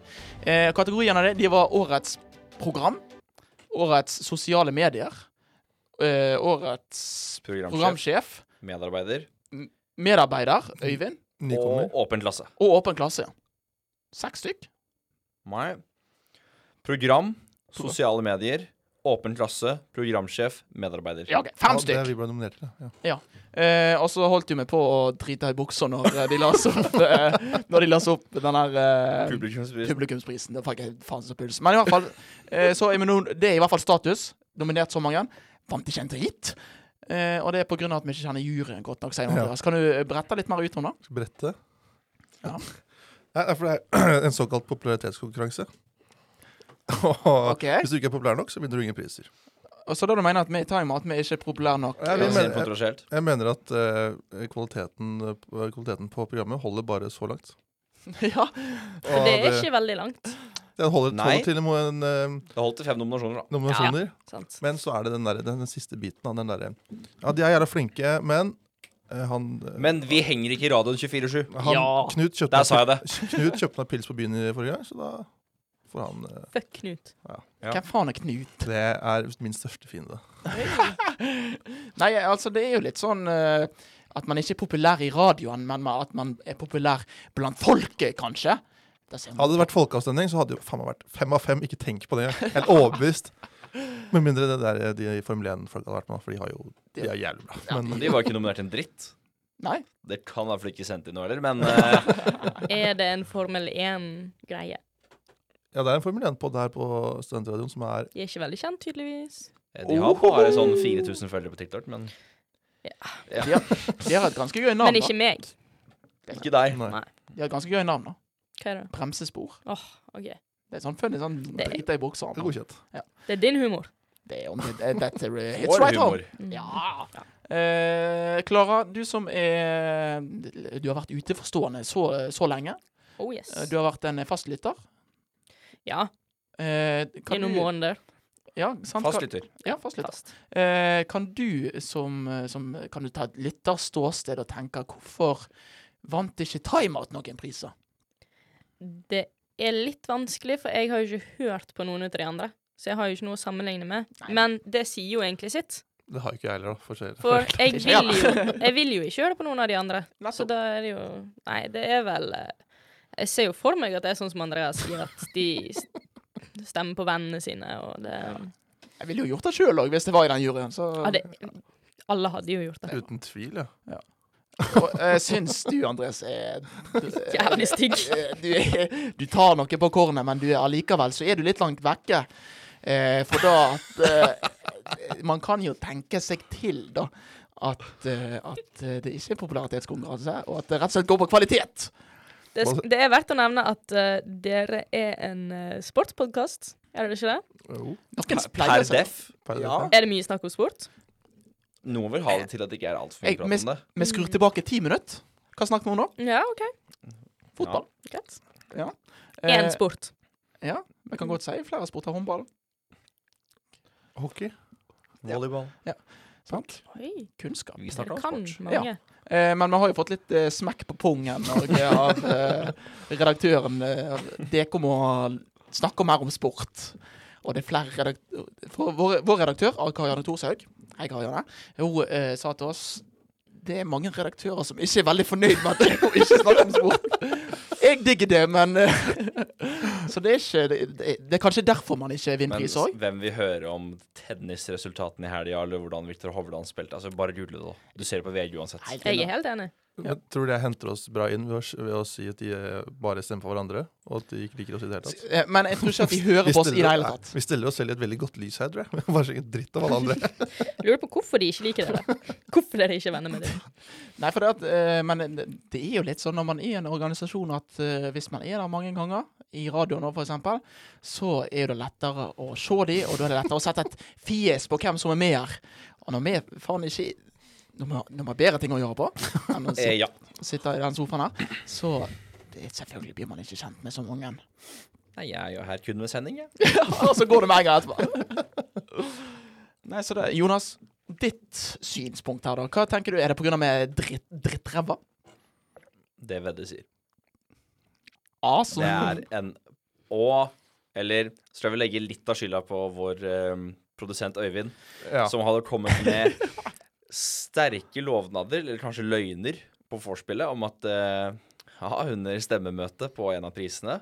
S1: Eh, kategoriene det, de var årets program, årets sosiale medier, eh, årets
S2: Programsjef,
S1: programsjef,
S2: medarbeider
S1: medarbeider, Øyvind,
S3: Nykommer.
S2: og åpen klasse.
S1: og Åpen klasse. ja. Seks stykk.
S2: Nei. Program, sosiale medier, åpen klasse, programsjef, medarbeider.
S1: Ja, ok, Fem
S3: Ja, det er
S1: stykk.
S3: vi ble nominert til. Ja.
S1: Eh, og så holdt jo vi på å drite i buksa når eh, de las opp,
S3: <laughs>
S1: eh, når de las opp den her eh,
S2: Publikumspris.
S1: Publikumsprisen. Det fikk jeg faen så puls. Men i hvert fall, eh, så er vi nå- det er i hvert fall status. Nominert så mange. Vant ikke en drit. Eh, og det er på grunn av at vi ikke kjenner juryen godt nok. Sier
S3: Ja.
S1: Andreas. Kan du eh, brette litt mer ut om det?
S3: Skal vi brette? <laughs>
S1: Ja.
S3: Nei, nei, for det er <clears throat> en såkalt popularitetskonkurranse. <laughs> Og
S1: Ok.
S3: hvis du ikke er populær nok, så vinner du ingen priser.
S1: Og så da du mener at vi i Time at vi ikke er populære nok?
S3: Ja, vi
S1: eh,
S2: Ja,
S3: mener-
S2: det er Kontroversielt.
S3: Jeg mener at eh, kvaliteten, kvaliteten på programmet holder bare så langt.
S1: <laughs> ja.
S4: For det er ikke veldig langt.
S3: Den holder
S2: Nei.
S3: tolv til noen eh,
S2: Det holdt til fem nominasjoner, da.
S3: nominasjoner.
S4: Sant?
S3: Men så er det den, der, den siste biten av den derre Ja, de er jævla flinke, men eh, han, eh,
S2: Men vi henger ikke i radioen 24-7.
S3: han
S1: Ja.
S3: Knut kjøpte
S2: Der sa jeg det.
S3: <laughs> Knut kjøpte meg pils på byen i forrige gang, så da får han eh,
S4: Fuck Knut.
S2: Ja.
S1: Hvem faen er Knut?
S3: Det er min største fiende.
S1: Nei, altså, det er jo litt sånn eh, at man ikke er populær i radioen, men ma- at man er populær blant folket, kanskje. Det ser man.
S3: Hadde det vært folkeavstemning, så hadde det jo faen meg vært fem av fem. Ikke tenk på det. Jeg er overbevist. Med mindre det der eh, de i Formel 1-folka hadde vært med, for de har jo De er jævlig bra. Men
S2: De var ikke nominert til en dritt.
S1: Nei.
S2: Det kan i hvert fall ikke sendt inn noe heller, men eh,
S4: Er det en Formel 1-greie?
S3: ja, det er en Formel 1-pod her på Studentradioen som er
S4: De er ikke veldig kjent, tydeligvis.
S2: de har bare sånn 4000 følgere på TikTok, men
S1: De har et ganske gøy navn.
S4: Men ikke meg.
S2: ikke deg.
S3: Nei.
S4: Nei.
S1: da. De har et ganske gøy navn da.
S4: Hva er det?
S1: Bremsespor.
S4: Åh, ok.
S1: Det er sånn funny sånn
S4: Det er-
S1: drita i buksa.
S3: Det er godkjent.
S4: Det er din humor. Mm.
S1: Det er omtrent eh, Dette er
S3: <laughs>
S1: eh, It's
S2: Vår
S1: right
S2: humor.
S1: home. Ja. Eh, Klara, du som er Du har vært uteforstående så, så lenge.
S4: Oh yes.
S1: Eh, Du har vært en fastlytter.
S4: Ja,
S1: Eh,
S4: i
S1: kan,
S4: noen
S1: du-
S4: måneder.
S1: Ja, sant, kan-
S2: Fastlytter.
S1: Ja, fastlytter.
S4: Fast.
S1: Eh, kan du som, eh, som Kan du ta et lytterståsted og tenke hvorfor vant ikke Timeout noen priser?
S4: Det er litt vanskelig, for jeg har jo ikke hørt på noen av de andre. Så jeg har jo ikke noe å sammenligne med. Men det sier jo egentlig sitt.
S3: Det har jo ikke jeg heller, da. For å si det.
S4: For jeg
S1: Ikke
S4: vil
S1: jeg.
S4: <laughs> jo, jeg vil jo ikke høre på noen av de andre.
S1: <laughs> Nettopp.
S4: Så da er det jo Nei, det er vel eh, Jeg ser jo for meg at det er sånn som Andreas sier, at de s- stemmer på vennene sine, og det
S1: Jeg ville jo gjort det sjøl òg, hvis det var i den juryen. Så
S4: Ja, det Alle hadde jo gjort det.
S3: Uten tvil, ja.
S1: <laughs> og, eh, syns du, Andres, er
S4: <laughs> Jævlig stygg.
S1: <laughs> Eh, du, er, du tar noe på kornet, men du er allikevel så er du litt langt vekke. Eh, for da at eh, Man kan jo tenke seg til, da, at, eh, at eh, det ikke er popularitetskonkurranse, og at det rett og slett går på kvalitet.
S4: Det, s- det er verdt å nevne at eh, dere er en uh, sportspodkast, er det ikke det?
S3: Jo.
S1: Noen
S2: Per
S1: pleier seg
S2: def.
S3: Per
S2: Ja.
S3: def,
S4: Er det mye snakk om sport?
S2: Noen vil ha det til at det ikke er altfor
S1: Jeg
S2: mye prat om det.
S1: Vi
S4: Mm.
S1: skrur tilbake ti minutter. Hva snakker vi om nå?
S4: Ja, OK.
S1: Fotball.
S4: Greit.
S1: Eh,
S4: Én sport.
S1: Ja, Vi kan godt si flere sporter. Håndball.
S3: Hockey.
S2: Volleyball.
S1: Sant?
S4: Oi,
S1: Kunnskap.
S2: Vi
S4: dere
S2: snakker
S4: kan
S2: om sport.
S4: mange.
S1: Eh, men vi har jo fått litt eh, smekk på pungen og, eh, av eh, redaktøren. Eh, DK må snakke mer om sport. Og det er flere redaktører For vår, vår redaktør, Karianne Thorshaug, hei Karianne, hun eh, sa til oss det er mange redaktører som ikke er veldig fornøyd med at hun ikke snakker om sport. Jeg digger det, men eh, Så det er ikke Det, det, det er kanskje derfor man ikke vinner
S2: Men
S1: pris òg.
S2: s- hvem vil høre om tennisresultatene i helga, eller hvordan Viktor Hovland spilte? Altså, bare google det, da. Du ser det på VG uansett.
S1: Nei,
S4: Jeg er helt enig.
S3: Men tror du det henter oss bra inn ved å, ved å si at de eh, bare stemmer for hverandre? Og at de ikke liker oss i det hele tatt?
S1: Eh, Men jeg tror ikke at de hører på
S3: Vi
S1: oss i
S3: stiller-
S1: det hele tatt.
S3: Nei, Vi stiller oss selv i et veldig godt lys her, tror jeg. <laughs> Vi er Bare så dritt av alle andre.
S4: Jeg lurer på hvorfor de ikke liker dere. <laughs> Hvorfor dere ikke er venner med dem.
S1: Nei, for det at, eh, men det- det er jo litt sånn når man er i en organisasjon at eh, hvis man er der mange ganger, i radioen nå f.eks., så er det lettere å se de, og da er det lettere å sette et fjes på hvem som er med her. Og når vi faen ikke Når vi har- når vi har bedre ting å gjøre på enn å
S2: Eh,
S1: sit-
S2: ja.
S1: sitte i den sofaen her, så det, selvfølgelig blir man ikke kjent med så mange. <laughs>
S2: Nei, jeg er jo her kun med sending, jeg.
S1: og så går det med en gang etterpå. Nei, så det, Jonas, ditt synspunkt her, da. Hva tenker du? Er det pga. dritt, drittræva?
S2: Det Vedde sier.
S1: Ah, som-
S2: Det er en Og Eller så skal vi legge litt av skylda på vår eh, produsent Øyvind,
S3: Ja.
S2: som hadde kommet med sterke lovnader, eller kanskje løgner, på vorspielet om at eh, ja, under stemmemøtet på en av prisene,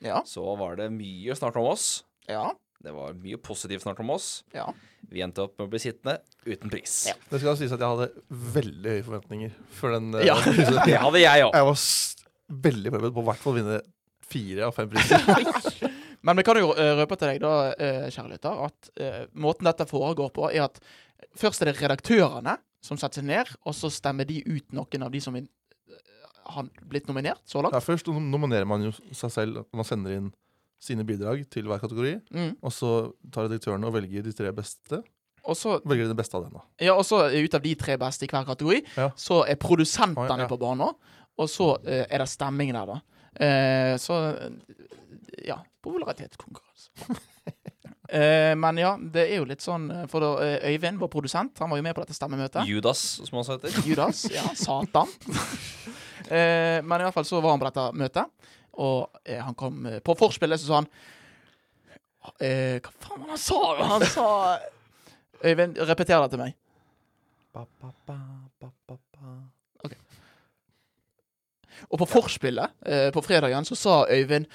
S1: Ja.
S2: så var det mye snakk om oss.
S1: Ja.
S2: Det var mye positivt snakk om oss.
S1: Ja.
S2: Vi endte opp med å bli sittende uten pris.
S1: Ja.
S3: Det skal sies at jeg hadde veldig høye forventninger for den.
S1: <laughs>
S3: eh,
S1: Ja.
S3: prisen.
S2: Det hadde jeg òg.
S3: Jeg var s veldig forberedt på å i hvert fall vinne fire av fem
S1: <laughs>
S3: priser.
S1: Men vi kan jo eh, røpe til deg, da, eh, kjære lytter, at eh, måten dette foregår på, er at først er det redaktørene som setter seg ned, og så stemmer de ut noen av de som vin- eh, har blitt nominert så langt.
S3: Ja, først nom- nominerer man jo seg selv. Man sender inn sine bidrag til hver kategori.
S1: Mm.
S3: Og så tar redaktørene og velger de tre beste.
S1: Og så
S3: Velger den beste av den, da.
S1: ja, og så ut av de tre beste i hver kategori,
S3: Ja.
S1: så er produsentene
S3: Oi, ja.
S1: på banen. Og så eh, er det stemming der, da. Eh, så eh, Ja. Popularitetskonkurranse.
S3: <laughs>
S1: Eh, men ja, det er jo litt sånn eh, For da, eh, Øyvind, vår produsent, han var jo med på dette stemmemøtet.
S2: Judas, som han heter.
S1: Judas, ja, Satan. eh, men i hvert fall så var han på dette møtet, og eh, han kom eh, på forspillet, så sa han eh, Hva faen var det han sa? Han sa Øyvind, repeter det til meg. Ok. Og på forspillet eh, på fredagen så sa Øyvind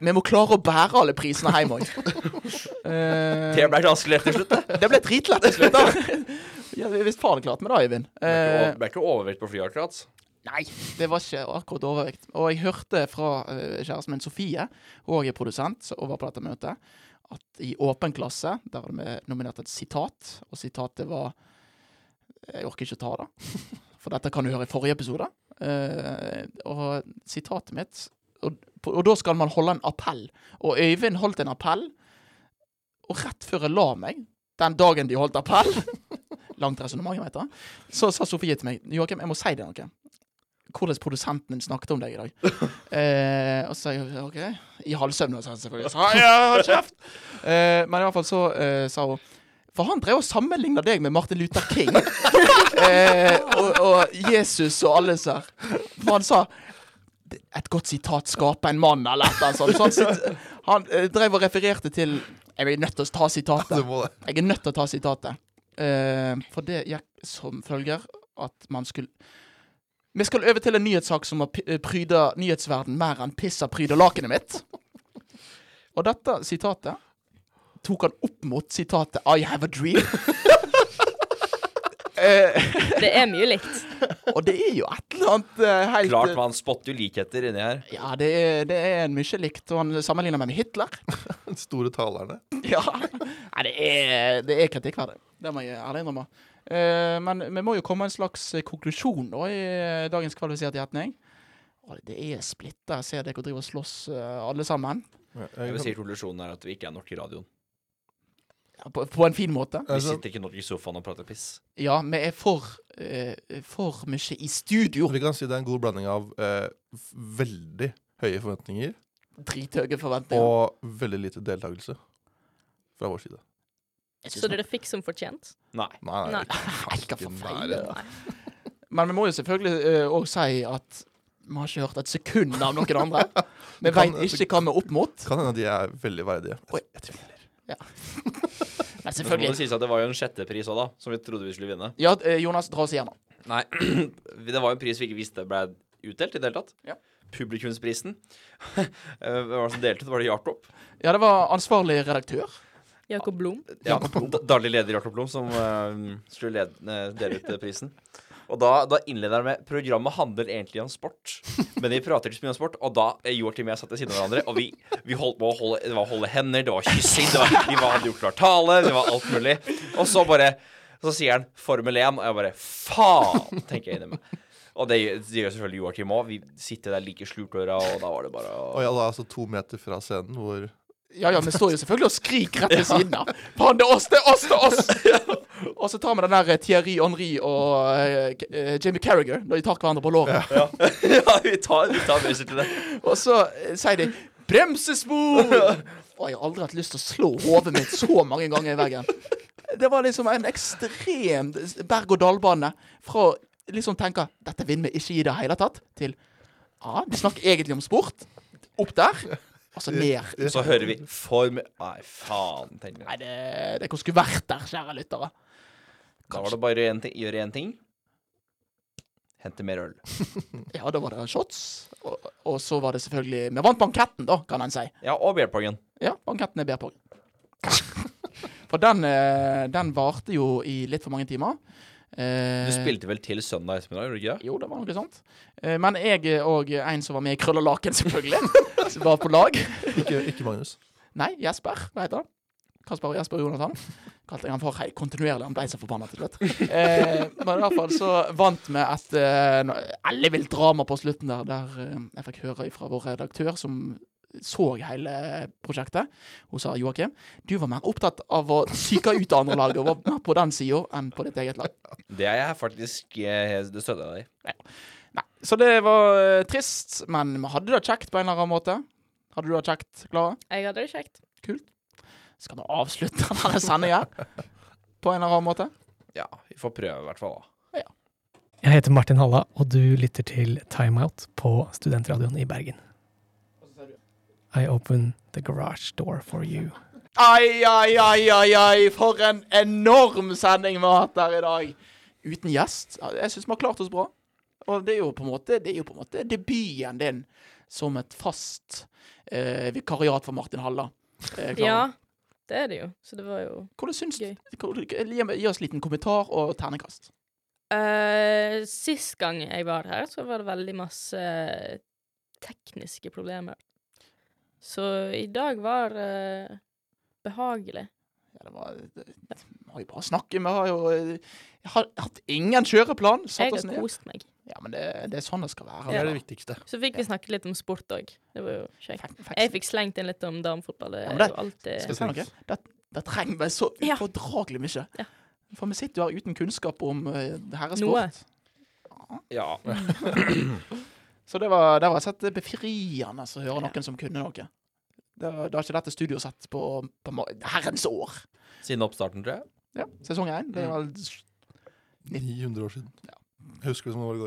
S1: vi må klare å bære alle prisene hjem òg.
S2: <laughs> Det ble vanskelig til slutt.
S1: Eh. Det ble dritlett til slutt, da. Ja, Hvis faen klarte vi det, Øyvind.
S2: <laughs> Det
S1: Eh,
S2: ble ikke over- ble ikke overvekt på flyet akkurat.
S1: Nei, det var ikke akkurat overvekt. Og jeg hørte fra eh, kjæresten min Sofie, hun også er produsent så- og var på dette møtet, at i Åpen klasse, der var det nominert et sitat, og sitatet var Jeg orker ikke ta det, <laughs> for dette kan du høre i forrige episode. Eh, og sitatet mitt og, og da skal man holde en appell. Og Øyvind holdt en appell, og rett før jeg la meg, den dagen de holdt appell Langt resonnement, jeg vet det. Så sa Sofie til meg Joakim, jeg må si deg noe. hvordan produsenten din snakket om deg i dag. Eh, og så sa jeg OK. I halvsøvne, sa jeg selvfølgelig. Så, ja, hold kjeft! Eh, men i hvert fall så eh, sa hun For han drev og sammenligna deg med Martin Luther King. eh, og, og Jesus og alle disse her. For han sa et godt sitat 'skape en mann' eller et eller annet sånt. Så han, sit- han eh, drev og refererte til Jeg er nødt til å ta sitatet.
S3: Du må det.
S1: Jeg er nødt til å ta sitatet. Eh, for det gikk som følger at man skulle Vi skal over til en nyhetssak som har p- eh, pryda nyhetsverden mer enn pissa pryder lakenet mitt. Og dette sitatet tok han opp mot sitatet 'I have a dream'. Eh,
S4: Det er mye likt.
S1: og det er jo et eller annet eh, helt eh,
S2: Klart man spotter jo likheter inni her.
S1: Ja, det er, det er en mye likt. Og han sammenligner meg med Hitler.
S3: Den store talerne.
S1: Ja. Nei, det er, det er kritikkverdig. Det må jeg ærlig innrømme. Eh, men vi må jo komme med en slags eh, konklusjon da, i eh, dagens kvalifiserte gjetning. Å, Det er splitta. Jeg ser dere driver og slåss eh, alle sammen.
S3: Ja,
S2: Jeg
S3: jeg
S2: vil si
S3: kan-
S2: konklusjonen er at vi ikke er norske i radioen.
S1: Ja, På, på en fin måte.
S2: Vi
S3: altså,
S2: sitter ikke norske i sofaen og prater piss.
S1: Ja, vi er for, eh, for mye i studio.
S3: vi kan si det er en god blanding av eh, f- veldig høye forventninger
S1: Drithøye forventninger.
S3: og veldig lite deltakelse fra vår side.
S1: Jeg synes
S4: <laughs> Så dere fikk som fortjent?
S2: Nei.
S3: Nei, nei,
S4: Nei.
S3: <laughs>
S1: Nei, hva for
S3: ikke i altså.
S1: feil?
S3: nærheten.
S1: Men vi må jo selvfølgelig òg si at vi har ikke hørt et sekund av noen <laughs> andre. Vi
S3: Du kan-
S1: veit ikke hva vi er opp mot.
S3: Kan hende de er veldig verdige.
S1: Oi.
S3: Jeg, jeg tviler.
S1: Men
S2: Så må det
S1: selvfølgelig.
S2: sies at det var jo en sjettepris òg, da, som vi trodde vi skulle vinne.
S1: Ja, eh, Jonas, dra oss igjennom.
S2: Nei, <clears throat> det var jo en pris vi ikke visste ble utdelt i det hele tatt.
S1: Ja.
S2: Publikumsprisen. <laughs> Eh, Hvem var det som delte? det? Var det Jakob?
S1: Ja, det var ansvarlig redaktør.
S4: Jakob Blom.
S2: Ja, da- Daglig leder Jakob Blom, som eh, skulle lede, eh, dele ut eh, prisen. Og da, da innleder han med programmet handler egentlig om sport, men vi prater ikke så mye om sport. Og da eh, Joakim og jeg satt ved siden av hverandre, og vi, vi holdt på å holde, det var å holde hender, det var kyssing, det var, vi var, hadde gjort klar tale, det var alt mulig. Og så bare Så sier han Formel 1, og jeg bare faen, tenker jeg inni meg. Og det, gjør- det gjør selvfølgelig Joakim òg. Vi sitter der like slurtøra, og da var det bare å
S3: Og ja, da er altså to meter fra scenen <laughs> hvor
S1: Ja, ja, vi står jo selvfølgelig og skriker rett ved siden av. Faen, det er oss, det er oss, det er oss! Og så tar vi den der eh, Thierry Henry og eh, K- eh, Jamie Carriger, når de tar hverandre på låret.
S2: Ja, <laughs> ja vi tar, vi tar bussen til det.
S1: Og så eh, sier de 'bremsespor'! Å, jeg har aldri hatt lyst til å slå hodet mitt så mange ganger i veggen. Det var liksom en ekstrem berg-og-dal-bane fra å liksom tenke 'dette vinner vi ikke i det hele tatt', til ja, de snakker egentlig om sport. Opp der, og så ned.
S2: Så hører vi Form... Nei, faen, tenker jeg.
S1: Nei, det, det kunne skulle vært der, kjære lyttere.
S2: Da var det bare å gjøre én ting. Hente mer øl.
S1: Ja, da var det shots. Og, og så var det selvfølgelig Vi vant banketten, da, kan en si.
S2: Ja, og beerpongen.
S1: Ja, banketten er bedre på. <laughs> For den, eh, den varte jo i litt for mange timer. Eh,
S2: Du spilte vel til søndag ettermiddag, gjorde du ikke det?
S1: Jo, det var noe sånt. Eh, men jeg og en som var med i Krøll og laken, selvfølgelig, <laughs> som var på lag.
S3: Ikke, ikke Magnus.
S1: Nei, Jesper. Hva heter han? Kasper og Jesper og Jonathan. Kalte jeg han for hei, kontinuerlig. Han ble så forbanna til slutt. Eh, men i hvert fall så vant vi et eh, no- ellevilt drama på slutten der, der eh, jeg fikk høre fra vår redaktør, som så hele prosjektet. Hun sa Joakim, du var mer opptatt av å psyke ut det andre laget og var mer på den sida enn på ditt eget lag.
S2: Det er jeg faktisk eh, Det støtter jeg deg i.
S1: Nei, Så det var eh, trist, men vi hadde det kjekt på en eller annen måte. Hadde du det kjekt, Klara?
S4: Jeg hadde det kjekt.
S1: Skal vi avslutte denne sendinga på en eller annen måte?
S2: Ja, vi får prøve i hvert fall, da.
S8: Jeg heter Martin Halla, og du lytter til Timeout på Studentradioen i Bergen. I open the garage door for you.
S1: Ai, ai, ai, ai, ai, for en enorm sending vi har hatt her i dag. Uten gjest. Ja, Jeg syns vi har klart oss bra. Og det er jo på en måte, det er jo på en måte debuten din som et fast eh, vikariat for Martin Halla. Eh, Klara.
S4: Ja, det er det jo. Så det var jo
S1: Hvordan syns du
S4: Gøy.
S1: hvordan- Gi meg- gi oss en liten kommentar og ternekast.
S4: Eh, Sist gang jeg var her, så var det veldig masse eh, tekniske problemer. Så i dag var eh, behagelig.
S1: Ja, det var det- det- Vi har jo bare snakket, vi har jo eh, har, hatt ingen kjøreplan. Satt
S4: Jeg
S1: oss
S4: har
S1: ned.
S4: kost meg.
S1: Ja, men det, det er sånn det skal være.
S3: Det er det viktigste.
S4: Så fikk vi snakket litt om sport òg. Det var jo kjekt.
S1: Fak- faktisk.
S4: Jeg fikk slengt inn litt om damefotball. Det
S1: Ja, men
S4: er
S1: det-
S4: jo alltid
S1: Skal jeg si noe? Det, det trenger vi så
S4: Ja.
S1: ufordragelig mye.
S4: Ja.
S1: For vi sitter jo her uten kunnskap om eh, herresport.
S4: Noe.
S1: Ja,
S2: Ja.
S1: Så det var, det var sett befriende å høre noen som kunne noe. Det var, det har ikke dette studioet sett på, på ma- herrens år.
S2: Siden oppstarten, tror jeg.
S1: Ja, sesong én.
S4: Mm.
S1: Det <laughs> var
S3: 900 år siden. Jeg Husker det som det var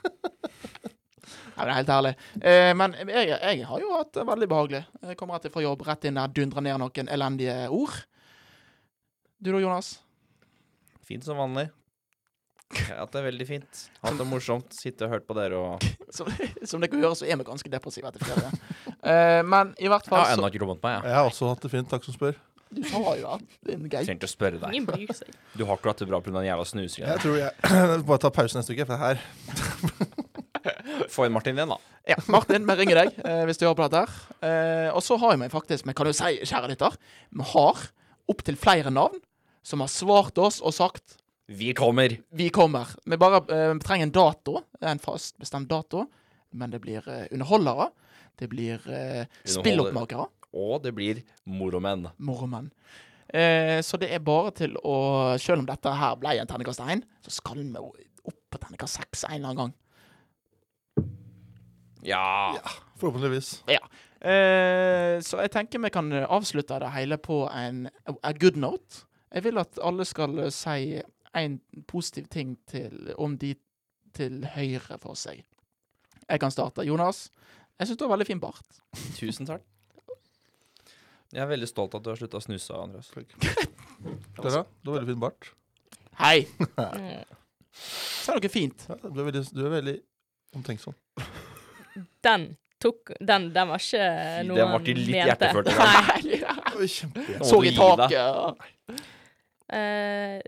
S3: i går.
S1: Ja, men det er helt herlig. Eh, men jeg, jeg har jo hatt det veldig behagelig. Jeg kommer rett fra jobb, rett inn der, dundrer ned noen elendige ord. Du da, Jonas?
S2: Fint som vanlig. Ja, det er veldig fint. Hatt det morsomt. Sitte og hørt på dere og
S1: Som, <laughs> som dere hører, så er vi ganske depressive etter ferie. Eh, men i hvert
S2: Jeg
S1: fall
S2: har
S1: så
S2: ennå ikke romet meg, jeg.
S3: Jeg har også hatt det fint, takk som spør.
S1: Du sa jo det. Din geit.
S2: Trenger ikke å spørre deg.
S4: Ingen bryr
S2: <laughs>
S4: seg.
S2: Du har ikke hatt det bra pga. den jævla snusingen.
S3: Jeg <clears throat> tror jeg Bare ta pause neste uke, for det her
S2: Få inn Martin igjen, da.
S1: Ja, Martin, vi ringer deg eh, hvis du hører på dette. her. Eh, og så har vi faktisk, vi kan jo si, kjære lytter, vi har opptil flere navn som har svart oss og sagt
S2: Vi kommer!
S1: 'vi kommer'. Vi bare eh, trenger en dato, en fast bestemt dato. Men det blir eh, underholdere. Det blir eh, spilloppmakere.
S2: Og det blir moromenn.
S1: Moromenn. Eh, så det er bare til å Selv om dette her ble en terningkast 1, så skal vi jo opp på terningkast 6 en eller annen gang.
S2: Ja.
S3: Forhåpentligvis.
S1: Eh, så jeg tenker vi kan avslutte det hele på en a good note. Jeg vil at alle skal eh, si en positiv ting til, om de til høyre for seg. Jeg kan starte. Jonas, jeg syns du har veldig fin bart.
S2: Tusen takk. Jeg er veldig stolt av at du har slutta å snuse, Andreas.
S3: Clara, du har veldig fin bart.
S1: Hei!
S4: Mm.
S1: Si noe fint.
S3: Ja, du, er veldig, du er veldig omtenksom.
S4: Den tok Den, den var ikke
S2: Den
S4: noe
S2: var ikke litt
S4: mente.
S2: hjertefølt, eller?
S4: Nei.
S1: <laughs>
S3: Oi, kjempe.
S1: Så i
S2: Nå må du gi deg.
S1: taket. og-
S4: Eh,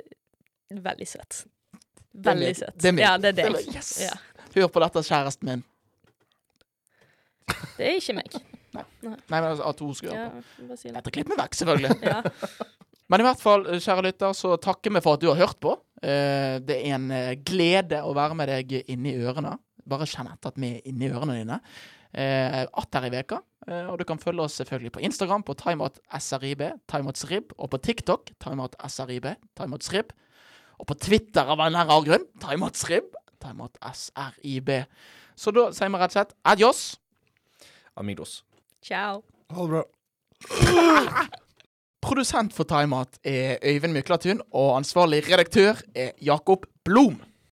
S4: veldig søt.
S1: er
S4: Veldig
S1: meg.
S4: søt.
S1: Det er meg.
S4: Ja, det er
S1: Det er
S4: deg.
S1: meg. Yes.
S4: Ja.
S1: Hør på dette, kjæresten min.
S4: Det er ikke meg.
S1: Nei, men altså, at hun skulle
S4: Ja,
S1: høre på.
S4: bare si det.
S1: Dette klipper vi vekk, selvfølgelig. <laughs>
S4: Ja.
S1: Men i hvert fall, eh, kjære lytter, så takker vi for at du har hørt på. Eh, Det er en eh, glede å være med deg inni ørene. Bare kjenn etter at vi er inni ørene dine. Eh, Atter i veka. Eh, Og du kan følge oss selvfølgelig på Instagram på timeoutsrib, timeoutsrib, og på TikTok timeoutsrib, timeoutsrib. Og på Twitter av en eller annen rar grunn timeoutsrib, timeoutsrib. Så da sier vi rett og slett adjos.
S2: Amigos.
S4: Ciao.
S3: Ha det bra.
S1: Produsent for Timeout er Øyvind Myklatun, og ansvarlig redaktør er Jakob Blom.